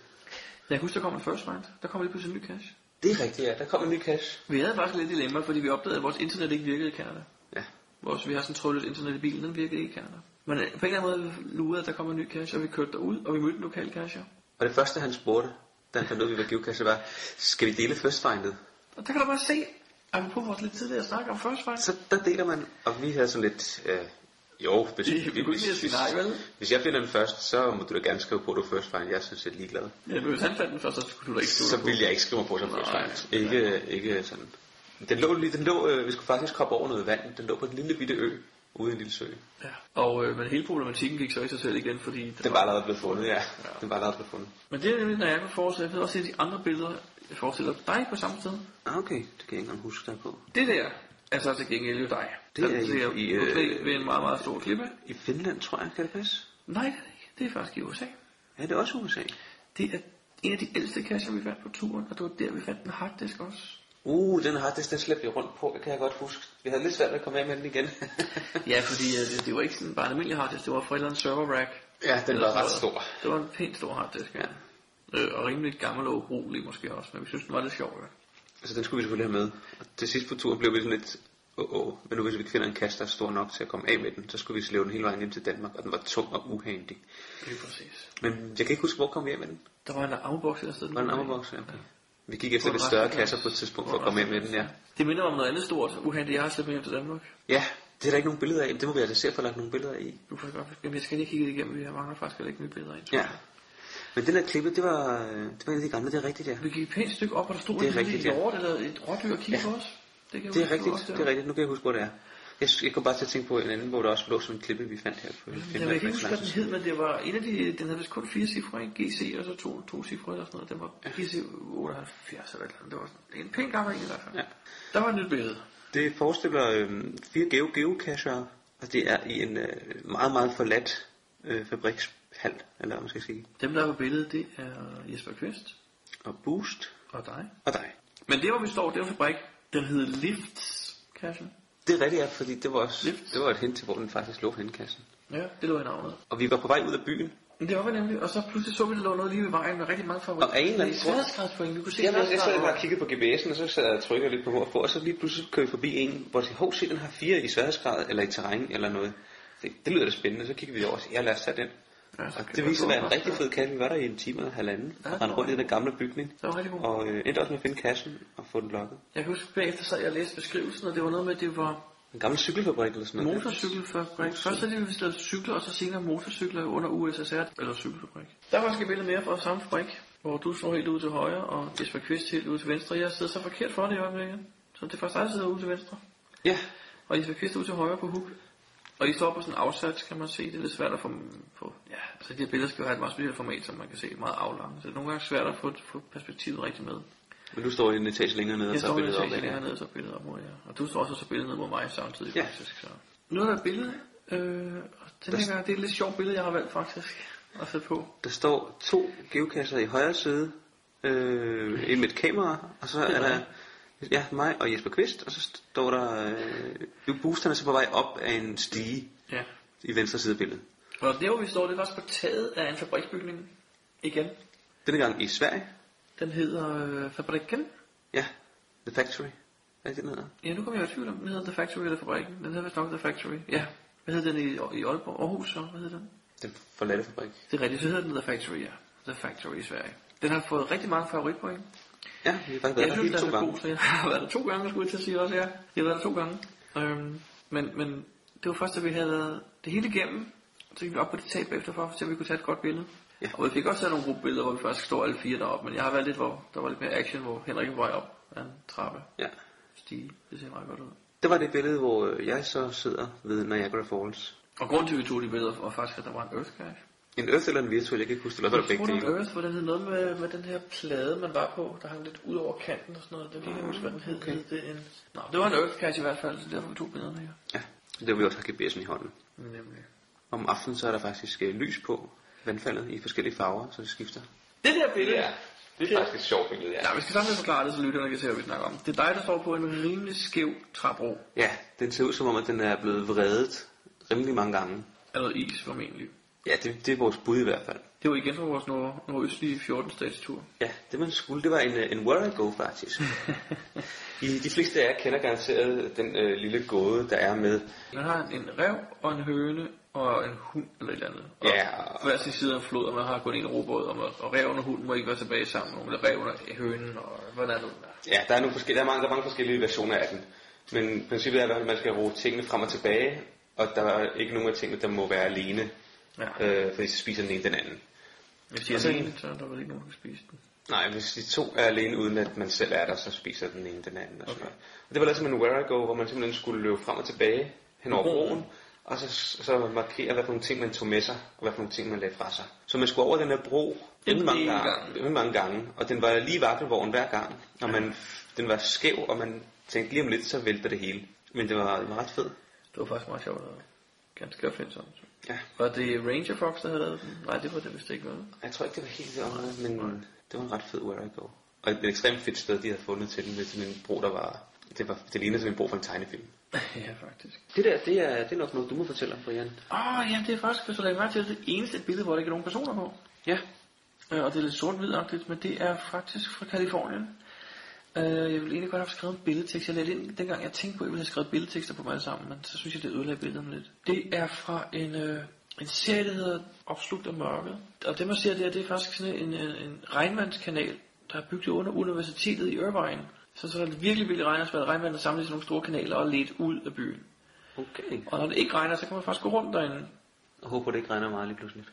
Speaker 1: Jeg kan huske, der kom en first find. Der kom lige pludselig en ny cash.
Speaker 2: Det er rigtigt, ja. Der kom en ny cash.
Speaker 1: Vi havde faktisk lidt dilemma, fordi vi opdagede, at vores internet ikke virkede i Canada.
Speaker 2: Ja.
Speaker 1: Vores, vi har sådan trådløst internet i bilen, den virkede ikke i Canada. Men øh, på en eller anden måde lurede, at der kom en ny cash, og vi kørte derud, og vi mødte en lokal cashier.
Speaker 2: Og det første, han spurgte, da han fandt ud af, at vi var geocache, var, skal vi dele first findet?
Speaker 1: Og der kan du bare se, at vi på vores lidt tidligere snakke om first find.
Speaker 2: Så der deler man, og vi havde sådan lidt, øh, jo, hvis,
Speaker 1: Vi- vi kunne ikke lige at sige nej, vel?
Speaker 2: hvis jeg finder den først, så må du da gerne skrive på, at du er first find. Jeg synes, jeg er ligeglad.
Speaker 1: Ja, men hvis han fandt den først, så skulle du da ikke skrive
Speaker 2: Så
Speaker 1: på.
Speaker 2: ville jeg ikke skrive mig på som first find. Ikke, ikke sådan. Den lå, lige- den lå øh, vi skulle faktisk hoppe over noget vand. Den lå på en lille bitte ø, ude i en lille sø.
Speaker 1: Og øh, men hele problematikken gik så i sig selv igen, fordi... Den,
Speaker 2: var allerede blevet fundet, ja. Den var allerede blevet fundet.
Speaker 1: Men det er nemlig, når jeg kan forestille, jeg ved også se de andre billeder, jeg forestiller dig på samme sted.
Speaker 2: Ah, okay. Det kan jeg ikke engang huske dig på.
Speaker 1: Det der er så til gengæld jo dig.
Speaker 2: Det
Speaker 1: Der
Speaker 2: er
Speaker 1: sidder
Speaker 2: i- i,
Speaker 1: du
Speaker 2: øh,
Speaker 1: ved- ved en meget, meget stor klippe.
Speaker 2: I Finland, tror jeg, kan det passe?
Speaker 1: Nej, det er det ikke. det er faktisk i USA.
Speaker 2: Ja, det er også USA.
Speaker 1: Det er en af de ældste kasser, vi fandt på turen, og det var der, vi fandt en harddisk også.
Speaker 2: Uh, den harddisk, den slæbte vi rundt på, det kan jeg godt huske. Vi havde lidt svært at komme af med den igen.
Speaker 1: Ja, fordi øh, det, det var ikke sådan bare en almindelig harddisk, det var fra et eller andet server rack.
Speaker 2: Ja, den
Speaker 1: Eller
Speaker 2: var ret
Speaker 1: sådan noget.
Speaker 2: stor.
Speaker 1: Det var en pænt stor harddisk, ja. Øh, og rimelig gammel og ubrugelig måske også, men vi synes, den var lidt sjov. Ja.
Speaker 2: Så Altså, den skulle vi selvfølgelig have med. Og til sidst på turen blev vi sådan lidt, åh, åh, men nu hvis vi ikke finder en kasse, der er stor nok til at komme af med den, så skulle vi slæve den hele vejen hjem til Danmark, og den var tung og uhandig.
Speaker 1: Lige præcis.
Speaker 2: Men jeg kan ikke huske, hvor kom vi af med den.
Speaker 1: Der var en armeboks eller sådan
Speaker 2: Var den armeboks? Ja, okay. Vi gik efter lidt større kasser på et tidspunkt for at komme af med den, ja.
Speaker 1: Det minder om noget andet stort, uhandigt, jeg har slæbt med hjem til Danmark.
Speaker 2: Ja, det er der ikke nogen billeder af, men det må vi altså se at få lagt nogle billeder i.
Speaker 1: Du får godt, jamen, jeg skal lige kigge det igennem, vi har mangler faktisk at lægge mine billeder ind.
Speaker 2: Ja. Men den der klippe, det var, øh, det var en af de gamle, det er rigtigt, ja.
Speaker 1: Vi gik et pænt stykke op, og der stod
Speaker 2: Det er
Speaker 1: en lille
Speaker 2: rigtigt, ja.
Speaker 1: hjort eller et rådyr og kiggede
Speaker 2: Ja.
Speaker 1: på os. Det, kan jeg
Speaker 2: Det er
Speaker 1: huske,
Speaker 2: rigtigt,
Speaker 1: også der.
Speaker 2: det er rigtigt. Nu kan jeg huske, hvor det er. Jeg, jeg kom bare til at tænke på en anden, hvor der også lå sådan en klippe, vi fandt her på
Speaker 1: Jeg
Speaker 2: Finland.
Speaker 1: kan ikke huske, hvad den hed, men det var en af de, den havde vist kun fire cifre, en GC og så to, to cifre eller sådan noget. Den var GC 78 eller et eller andet. Det var sådan en pæn gammel en i hvert fald. Ja. Der var et nyt billede.
Speaker 2: Det forestiller øh, Altså, fire geo geocacher, og det er i en øh, meget, meget forladt øh, fabriks halvt, eller hvad man skal sige.
Speaker 1: Dem, der er på billedet, det er Jesper Kvist.
Speaker 2: Og Boost.
Speaker 1: Og dig.
Speaker 2: Og dig.
Speaker 1: Men det, hvor vi står, det er en fabrik. Den hedder Lifts, kassen.
Speaker 2: Det er rigtigt, ja, fordi det var, også, det var et hint til, hvor den faktisk lå henne, kassen.
Speaker 1: Ja, det lå i navnet.
Speaker 2: Og vi var på vej ud af byen,
Speaker 1: Men det var vi nemlig, og så pludselig så vi, der lå noget lige ved vejen med rigtig mange favoritter.
Speaker 2: Og af en eller anden
Speaker 1: Det er
Speaker 2: grund-
Speaker 1: sværdesgradspoint, vi kunne se
Speaker 2: Jamen, jeg sad bare og
Speaker 1: sværdesgradspoint.
Speaker 2: kiggede på GPS'en, og så sad jeg og trykkede lidt på hvor på, og så lige pludselig kører vi forbi en, hvor jeg siger, hov, se, den har fire i sværhedsgrad, eller i terræn, eller noget. Det, det lyder da spændende, så kigger vi over og siger, ja, lad os tage den.
Speaker 1: Ja, så
Speaker 2: og
Speaker 1: kan
Speaker 2: det
Speaker 1: man
Speaker 2: viste sig
Speaker 1: gå
Speaker 2: at være en
Speaker 1: også,
Speaker 2: rigtig
Speaker 1: ja.
Speaker 2: fed kasse. Vi var der i en time og halvanden,
Speaker 1: Ja,
Speaker 2: og
Speaker 1: det
Speaker 2: rendte
Speaker 1: var
Speaker 2: rundt i den gamle bygning.
Speaker 1: Det var rigtig god.
Speaker 2: Og øh, endte også med at finde kassen og få den lukket.
Speaker 1: Jeg kan huske, bagefter sad jeg og læste beskrivelsen, og det var noget med, at det var
Speaker 2: En gammel cykelfabrik eller sådan noget.
Speaker 1: motorcykelfabrik. Først har de vist lavet cykler, og så senere motorcykler under USSR, eller cykelfabrik. Der var også et billede mere fra samme fabrik, hvor du står helt ude til højre, og Jesper Kvist helt ude til venstre. Jeg sidder så forkert for det i øjeblikket, så det er faktisk dig, der sidder ude til venstre.
Speaker 2: Ja.
Speaker 1: Og Jesper Kvist er ude til højre på hook. Og I står på sådan en afsats, kan man se. Det er lidt svært at få på. Ja, altså de her billeder skal jo have et meget specielt format, som man kan se meget aflangt. Så det er nogle gange svært at få, få perspektivet rigtigt med.
Speaker 2: Men du står i en etage længere nede og
Speaker 1: Jeg
Speaker 2: tager
Speaker 1: står lidt
Speaker 2: billedet op.
Speaker 1: til
Speaker 2: af.
Speaker 1: hernede, så billedet op mod jer. Og du står også og så billedet ned mod mig samtidig,
Speaker 2: Ja.
Speaker 1: faktisk. Så. Nu er der et billede, øh, og den her gang, det er et lidt sjovt billede, jeg har valgt faktisk at sætte på.
Speaker 2: Der står to geokasser i højre side, øh, en med et kamera, og så
Speaker 1: Det er
Speaker 2: er der
Speaker 1: mig.
Speaker 2: ja, mig og Jesper Kvist, og så står der, øh, jo boosterne så på vej op af en stige
Speaker 1: Ja.
Speaker 2: i venstre side af billedet.
Speaker 1: Og der hvor vi står, det er også på taget af en fabriksbygning. Igen.
Speaker 2: Denne gang i Sverige,
Speaker 1: Den hedder øh, Fabrikken.
Speaker 2: ja, The Factory, hvad er det, den hedder?
Speaker 1: Ja, nu kommer jeg i tvivl om, den hedder The Factory eller Fabrikken. Den hedder vist nok The Factory. Ja. Hvad hedder den i, i Aalborg? Aarhus så? Hvad hedder den?
Speaker 2: Den forladte fabrik.
Speaker 1: Det er rigtigt, så hedder den The Factory, ja. The Factory i Sverige. Den har fået rigtig mange favoritpoint.
Speaker 2: Ja, vi har faktisk været
Speaker 1: jeg
Speaker 2: der
Speaker 1: synes,
Speaker 2: hele
Speaker 1: den
Speaker 2: to
Speaker 1: er
Speaker 2: gange.
Speaker 1: god, så jeg har været der to gange, skulle jeg til at sige også, ja. Jeg har været der to gange. Øhm, men, men det var først, da vi havde været det hele igennem, så gik vi op på det tab efterfor, så vi kunne tage et godt billede. Ja. Og vi fik også taget nogle gode billeder, hvor vi faktisk står alle fire deroppe, men jeg har valgt lidt, hvor der var lidt mere action, hvor Henrik var op ad en trappe.
Speaker 2: Ja.
Speaker 1: Stige, det ser meget godt ud.
Speaker 2: Det var det billede, hvor øh, jeg så sidder ved Niagara Falls.
Speaker 1: Og grunden til, at vi tog de billeder, var faktisk, at der var en Earth Guide.
Speaker 2: En Earth eller en virtuel, jeg kan ikke huske, det var der
Speaker 1: Jeg
Speaker 2: begge
Speaker 1: tror, det
Speaker 2: dele.
Speaker 1: var Earth, hvor den hed noget med, med den her plade, man var på, der hang lidt ud over kanten og sådan noget. Det kan jeg ikke huske, hvad den hed. Okay. Hed det en... Nå, det var en Earth Guide i hvert fald, så derfor vi tog billederne her.
Speaker 2: Det var vi også har GPS'en i hånden.
Speaker 1: Nemlig.
Speaker 2: Om aftenen så er der faktisk øh, lys på vandfaldet i forskellige farver, så det skifter.
Speaker 1: Det der billede. Ja.
Speaker 2: Det er faktisk et sjovt billede, ja.
Speaker 1: Nej, vi skal samtidig forklare det, så lytterne kan se, hvad vi snakker om. Det er dig, der står på en rimelig skæv trapro.
Speaker 2: Ja, den ser ud som om, at den er blevet vredet rimelig mange gange.
Speaker 1: Af noget is, formentlig.
Speaker 2: Ja, det, det er vores bud i hvert fald.
Speaker 1: Det var igen fra vores nord- nordøstlige 14-stats tur.
Speaker 2: Ja, det man skulle, det var en, øh, en where I go faktisk. I, de fleste af jer kender garanteret den øh, lille gåde, der er med.
Speaker 1: Man har en, en rev og en høne og en hund eller et eller andet. Og
Speaker 2: Ja.
Speaker 1: hver sin side af en flod, og man har kun en robåd, og, man, og reven og hunden må ikke være tilbage sammen. Eller reven og hønen, og hvordan det nu er.
Speaker 2: Ja, der er, nogle forskellige, der, er mange, der er mange forskellige versioner af den. Men princippet er i hvert fald, at man skal roe tingene frem og tilbage, og der er ikke nogen af tingene, der må være alene.
Speaker 1: Ja.
Speaker 2: Øh, fordi så spiser den ene den anden.
Speaker 1: Hvis de er
Speaker 2: Og så en-
Speaker 1: alene, så er der vel ikke nogen, der kan spise den.
Speaker 2: Nej, hvis de to er alene, uden at man selv er der, så spiser den ene den anden. Og, okay. og det var lidt som en where I go, hvor man simpelthen skulle løbe frem og tilbage hen over
Speaker 1: Broen.
Speaker 2: broen, og så, så markere, hvad for nogle ting man tog med sig, og hvad for nogle ting man lagde fra sig. Så man skulle over den her bro rimelig mange,
Speaker 1: del
Speaker 2: gange, rimelig mange gange, og den var lige vakkelvogn hver gang, og man, den var skæv, og man tænkte lige om lidt, så vælter det hele. Men det var, det var ret fedt.
Speaker 1: Det var faktisk meget sjovt og ganske opfindsomt.
Speaker 2: Ja.
Speaker 1: Var det Ranger Fox, der havde lavet den? Nej, det var det vist ikke noget.
Speaker 2: Jeg tror ikke, det var helt det område, men det var en ret fed where I go. Og et, et ekstremt fedt sted, de havde fundet til den, med sådan en bro, der var... Det, var, det lignede sådan en bro fra en tegnefilm.
Speaker 1: ja, faktisk.
Speaker 2: Det der, det er, det er nok noget, du må fortælle om, Brian.
Speaker 1: Åh, oh, ja, det er faktisk, hvis du lægger mærke til, det eneste billede, hvor der ikke er nogen personer på.
Speaker 2: Ja.
Speaker 1: Øh, og det er lidt sort hvidagtigt men det er faktisk fra Kalifornien. Øh, jeg ville egentlig godt have skrevet en billedtekst. Jeg lagde det ind, dengang jeg tænkte på, at jeg ville have skrevet billedtekster på mig alle sammen, men så synes jeg, det ødelagde billederne lidt. Det er fra en, øh, en serie, der hedder Opslugt af mørket. Og det man ser der, det er faktisk sådan en, en, en regnvandskanal, der er bygget under universitetet i Irvine. Så, så der virkelig, virkelig regner, så regnvandet samlet i nogle store kanaler og ledt ud af byen.
Speaker 2: Okay.
Speaker 1: Og når det ikke regner, så kan man faktisk gå rundt derinde.
Speaker 2: Jeg håber, det ikke regner meget lige pludselig.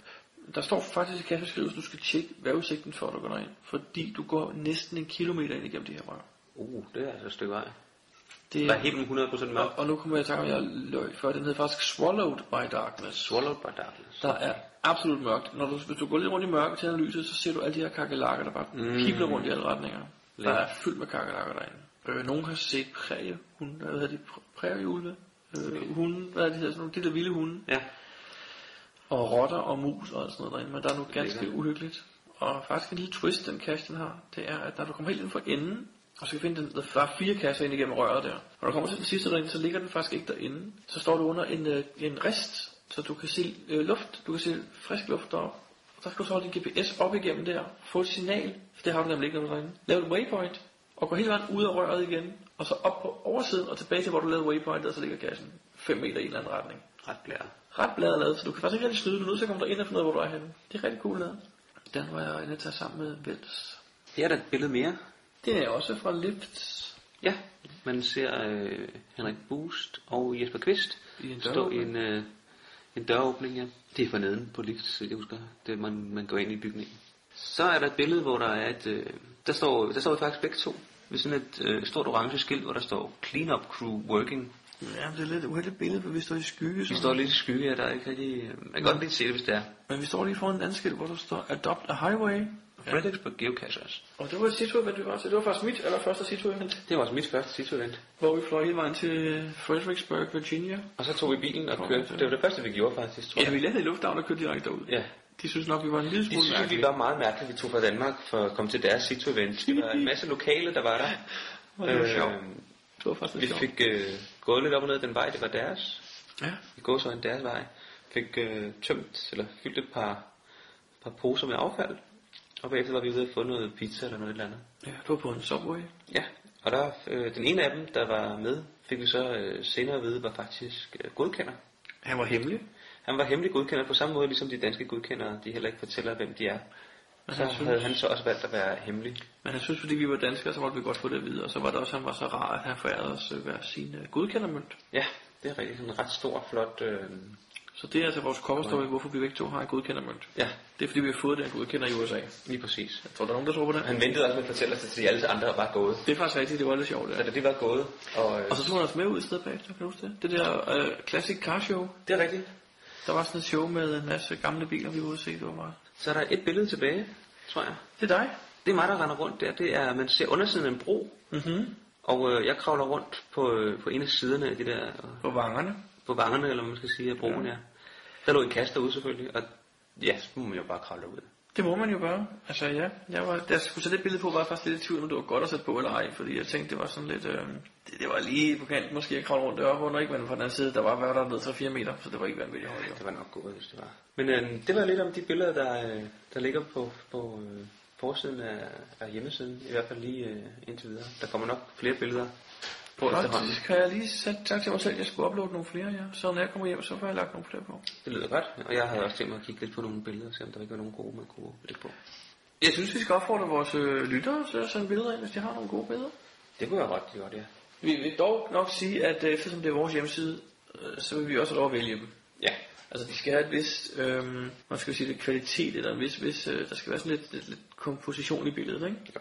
Speaker 1: Der står faktisk i kasseskrivelsen, at du skal tjekke vejrudsigten, før du går derind. Fordi du går næsten en kilometer ind igennem det her rør.
Speaker 2: Uh, det er altså et stykke vej.
Speaker 1: Det
Speaker 2: Der er helt 100% mørkt.
Speaker 1: Og, og nu kommer jeg i tanke om, at jeg løg før. Den hedder faktisk Swallowed by Darkness.
Speaker 2: Swallowed by Darkness.
Speaker 1: Der er absolut mørkt. Når du, hvis du går lidt rundt i mørket til analyse, så ser du alle de her kakelakker, der bare mm. pibler rundt i alle retninger. Der
Speaker 2: Lækkert.
Speaker 1: er fyldt med kakelakker derinde. Øh, nogen har set præriehunde, hvad hedder de, præriehulve? Øh, hunde, hvad er det, de hedder sådan nogle, de der vilde hunde.
Speaker 2: Ja.
Speaker 1: og rotter og mus og alt sådan noget derinde, men der er nu ganske
Speaker 12: Lækkert.
Speaker 1: uhyggeligt. Og faktisk en lille twist, den kasse den har, det er, at når du kommer helt ind for enden, og så kan finde den, der er fire kasser ind igennem røret der. Når du kommer til den sidste derinde, så ligger den faktisk ikke derinde. Så står du under en, øh, en rest, så du kan se øh, luft, du kan se frisk luft derop. Og der skal du så holde din GPS op igennem der, få et signal, for det har du nemlig ikke når du er derinde. Lav et waypoint, og gå hele vejen ud af røret igen, og så op på oversiden og tilbage til, hvor du lavede waypointet, og så ligger kassen 5 meter i en eller anden retning. Ret blæret. Ret blæret lavet, så du kan faktisk ikke rigtig snyde, du er nødt til at komme derind og finde ud af, hvor du er henne. Det er rigtig cool lavet. Den var jeg inde at tage sammen med Vels.
Speaker 6: Her er der et billede mere.
Speaker 1: Det er også fra Lifts.
Speaker 6: Ja, man ser øh, Henrik Boost og Jesper Kvist
Speaker 1: I en
Speaker 6: stå i
Speaker 1: døråbning.
Speaker 6: en, øh, en døråbning. Ja. Det er for neden på lift, så jeg husker, det er, man, man går ind i bygningen. Så er der et billede, hvor der er et... Øh, der, står, der står vi faktisk begge to ved sådan et øh, stort orange skilt, hvor der står Clean Up Crew Working.
Speaker 1: Ja, men det er lidt uheldigt billede, for vi står i skygge.
Speaker 6: Vi står lidt i skygge, ja, der er ikke rigtig... øh, Man kan godt lige se det, hvis det er.
Speaker 1: Men vi står lige foran en anden skilt, hvor der står Adopt a Highway.
Speaker 6: Frederiksberg Geocache også.
Speaker 1: Og det var et situ-event, vi var til. Det var faktisk mit allerførste situ-event,
Speaker 6: Det var også mit første situ-event.
Speaker 1: hvor vi fløj hele vejen til Fredericksburg, Virginia.
Speaker 6: Og så tog vi bilen og kørte. Det var det første, vi gjorde faktisk, tror jeg.
Speaker 1: Ja, vi landede i lufthavnen og kørte direkte derud.
Speaker 6: Ja.
Speaker 1: De synes nok, vi var en lille
Speaker 6: De
Speaker 1: smule
Speaker 6: synes, at vi
Speaker 1: mærkelige.
Speaker 6: var meget mærkelige, at vi tog fra Danmark for at komme til deres situ-event. Der var en masse lokale, der Øhm, var der.
Speaker 1: Hvor det var sjovt. Det var faktisk
Speaker 6: vi
Speaker 1: lidt sjovt.
Speaker 6: fik øh, gået lidt op og ned ad den vej, det var deres.
Speaker 1: Ja.
Speaker 6: Vi går så en deres vej. Fik øh, tømt, eller fyldt et par, par poser med affald. Og bagefter var vi ude og få noget pizza eller noget eller andet.
Speaker 1: Ja, det var på en subway.
Speaker 6: Ja, og der, øh, den ene af dem, der var med, fik vi så øh, senere at vide, var faktisk øh, godkender.
Speaker 1: Han var hemmelig.
Speaker 6: Han var hemmelig godkender på samme måde, ligesom de danske godkendere, de heller ikke fortæller, hvem de er.
Speaker 1: Men
Speaker 6: Så
Speaker 1: han synes-
Speaker 6: havde han så også valgt at være hemmelig.
Speaker 1: Men han synes, fordi vi var danskere, så måtte vi godt få det at vide. Og så var det også, at han var så rar, at han forærede os øh, hver sin øh, godkendermønt.
Speaker 6: Ja, det er rigtigt. Sådan en ret stor, flot... Øh...
Speaker 1: Så det er altså vores coverstory, hvorfor vi begge to har en godkendermønt.
Speaker 6: Ja,
Speaker 1: Det er fordi, vi har fået den godkender i USA.
Speaker 6: lige præcis.
Speaker 1: Tror der er nogen, der tror på det?
Speaker 6: Han ventede også med at fortælle os, at de alle andre var gået.
Speaker 1: Det er faktisk rigtigt, det var lidt sjovt.
Speaker 6: Så
Speaker 1: Ja.
Speaker 6: da det var gået, og... Øh...
Speaker 1: Og så tog han os med ud i stedet bagefter, kan du huske det? Det der øh, classic car show.
Speaker 6: Det er rigtigt.
Speaker 1: Der var sådan et show med en masse gamle biler, vi var ude at se. Det var meget.
Speaker 6: Så er der et billede tilbage, tror jeg.
Speaker 1: Det er dig.
Speaker 6: Det er mig, der render rundt der. Det er, man ser undersiden af en bro,
Speaker 1: Mhm.
Speaker 6: og øh, jeg kravler rundt på, øh, på en af siderne af de der... Øh,
Speaker 1: På vangerne.
Speaker 6: på vangerne, eller hvad man skal sige, af broen ja. Der lå en kasse derude selvfølgelig, og ja, så må man jo bare kravle ud.
Speaker 1: Det må man jo gøre. Altså ja, jeg var, da jeg skulle sætte det billede på, var jeg faktisk lidt i tvivl, om det var godt at sætte på eller ej. Fordi jeg tænkte, det var sådan lidt, øh, det, det, var lige på kanten måske at kravle rundt deroppe under, ikke? Men på den anden side, der var hvad var der ned 3-4 meter, så det var ikke vanvittigt højt. jo.
Speaker 6: Det var nok gået, hvis det var. Men øh, det var lidt om de billeder, der, øh, der ligger på, på øh, forsiden af, af hjemmesiden. I hvert fald lige øh, indtil videre. Der kommer nok flere billeder på efterhånden.
Speaker 1: Faktisk har jeg lige sat tak til mig selv, at jeg skulle uploade nogle flere, ja. Så når jeg kommer hjem, så får jeg lagt nogle flere på.
Speaker 6: Det lyder godt. Og jeg havde også tænkt mig at kigge lidt på nogle billeder og se, om der ikke var nogen gode, man kunne lægge på.
Speaker 1: Jeg synes, vi skal opfordre vores øh, lyttere til at sende billeder ind, hvis de har nogle gode billeder.
Speaker 6: Det kunne jeg ret godt, ja.
Speaker 1: Vi vil dog nok sige, at øh, eftersom det er vores hjemmeside, øh, så vil vi også have lov at vælge dem.
Speaker 6: Ja.
Speaker 1: Altså de skal have et vis, øh, man skal jo sige det, kvalitet, eller en vis, vis øh, der skal være sådan lidt, lidt, lidt komposition i billedet, ikke?
Speaker 6: Ja.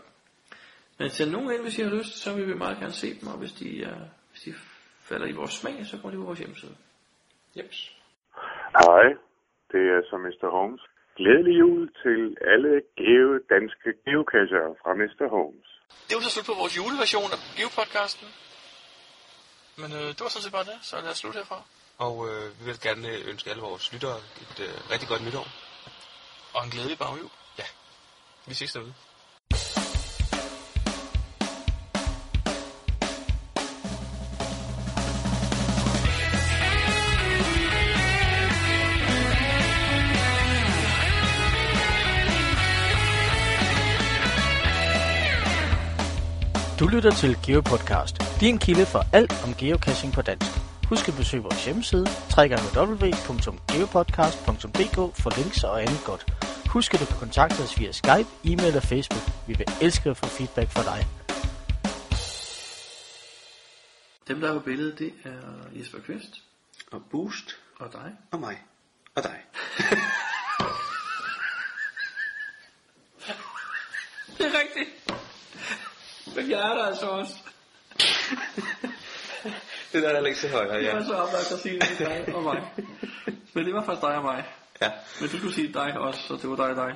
Speaker 1: Men send nogen ind, hvis I har lyst, så vil vi meget gerne se dem, og hvis de, øh, hvis de falder i vores smag, så går de på vores hjemmeside.
Speaker 6: Jeps.
Speaker 8: Hej, det er så Mr. Holmes. Glædelig jul til alle gave danske geocachere fra Mr. Holmes.
Speaker 13: Det var så slut på vores juleversion af Geopodcasten. Men øh, det var sådan set bare det, så lad os slutte herfra.
Speaker 12: Og øh, vi vil gerne ønske alle vores lyttere et øh, rigtig godt nytår.
Speaker 13: Og en glædelig baghjul.
Speaker 12: Ja. Vi ses derude.
Speaker 3: Du lytter til GeoPodcast, din kilde for alt om geocaching på dansk. Husk at besøge vores hjemmeside, www.geopodcast.dk for links og andet godt. Husk at du kan kontakte os via Skype, e-mail og Facebook. Vi vil elske at få feedback fra dig.
Speaker 1: Dem, der er på billedet, det er Jesper Kvist
Speaker 6: Og Boost
Speaker 1: og dig.
Speaker 6: og mig. Og dig.
Speaker 1: Det er rigtigt. Men jeg er der altså også.
Speaker 6: Det der er heller ikke til højre,
Speaker 1: Jeg
Speaker 6: ja.
Speaker 1: var så oplagt at sige, det er dig og mig. Men det var faktisk dig og mig.
Speaker 6: Ja.
Speaker 1: Men du skulle sige dig også, så det var dig og dig.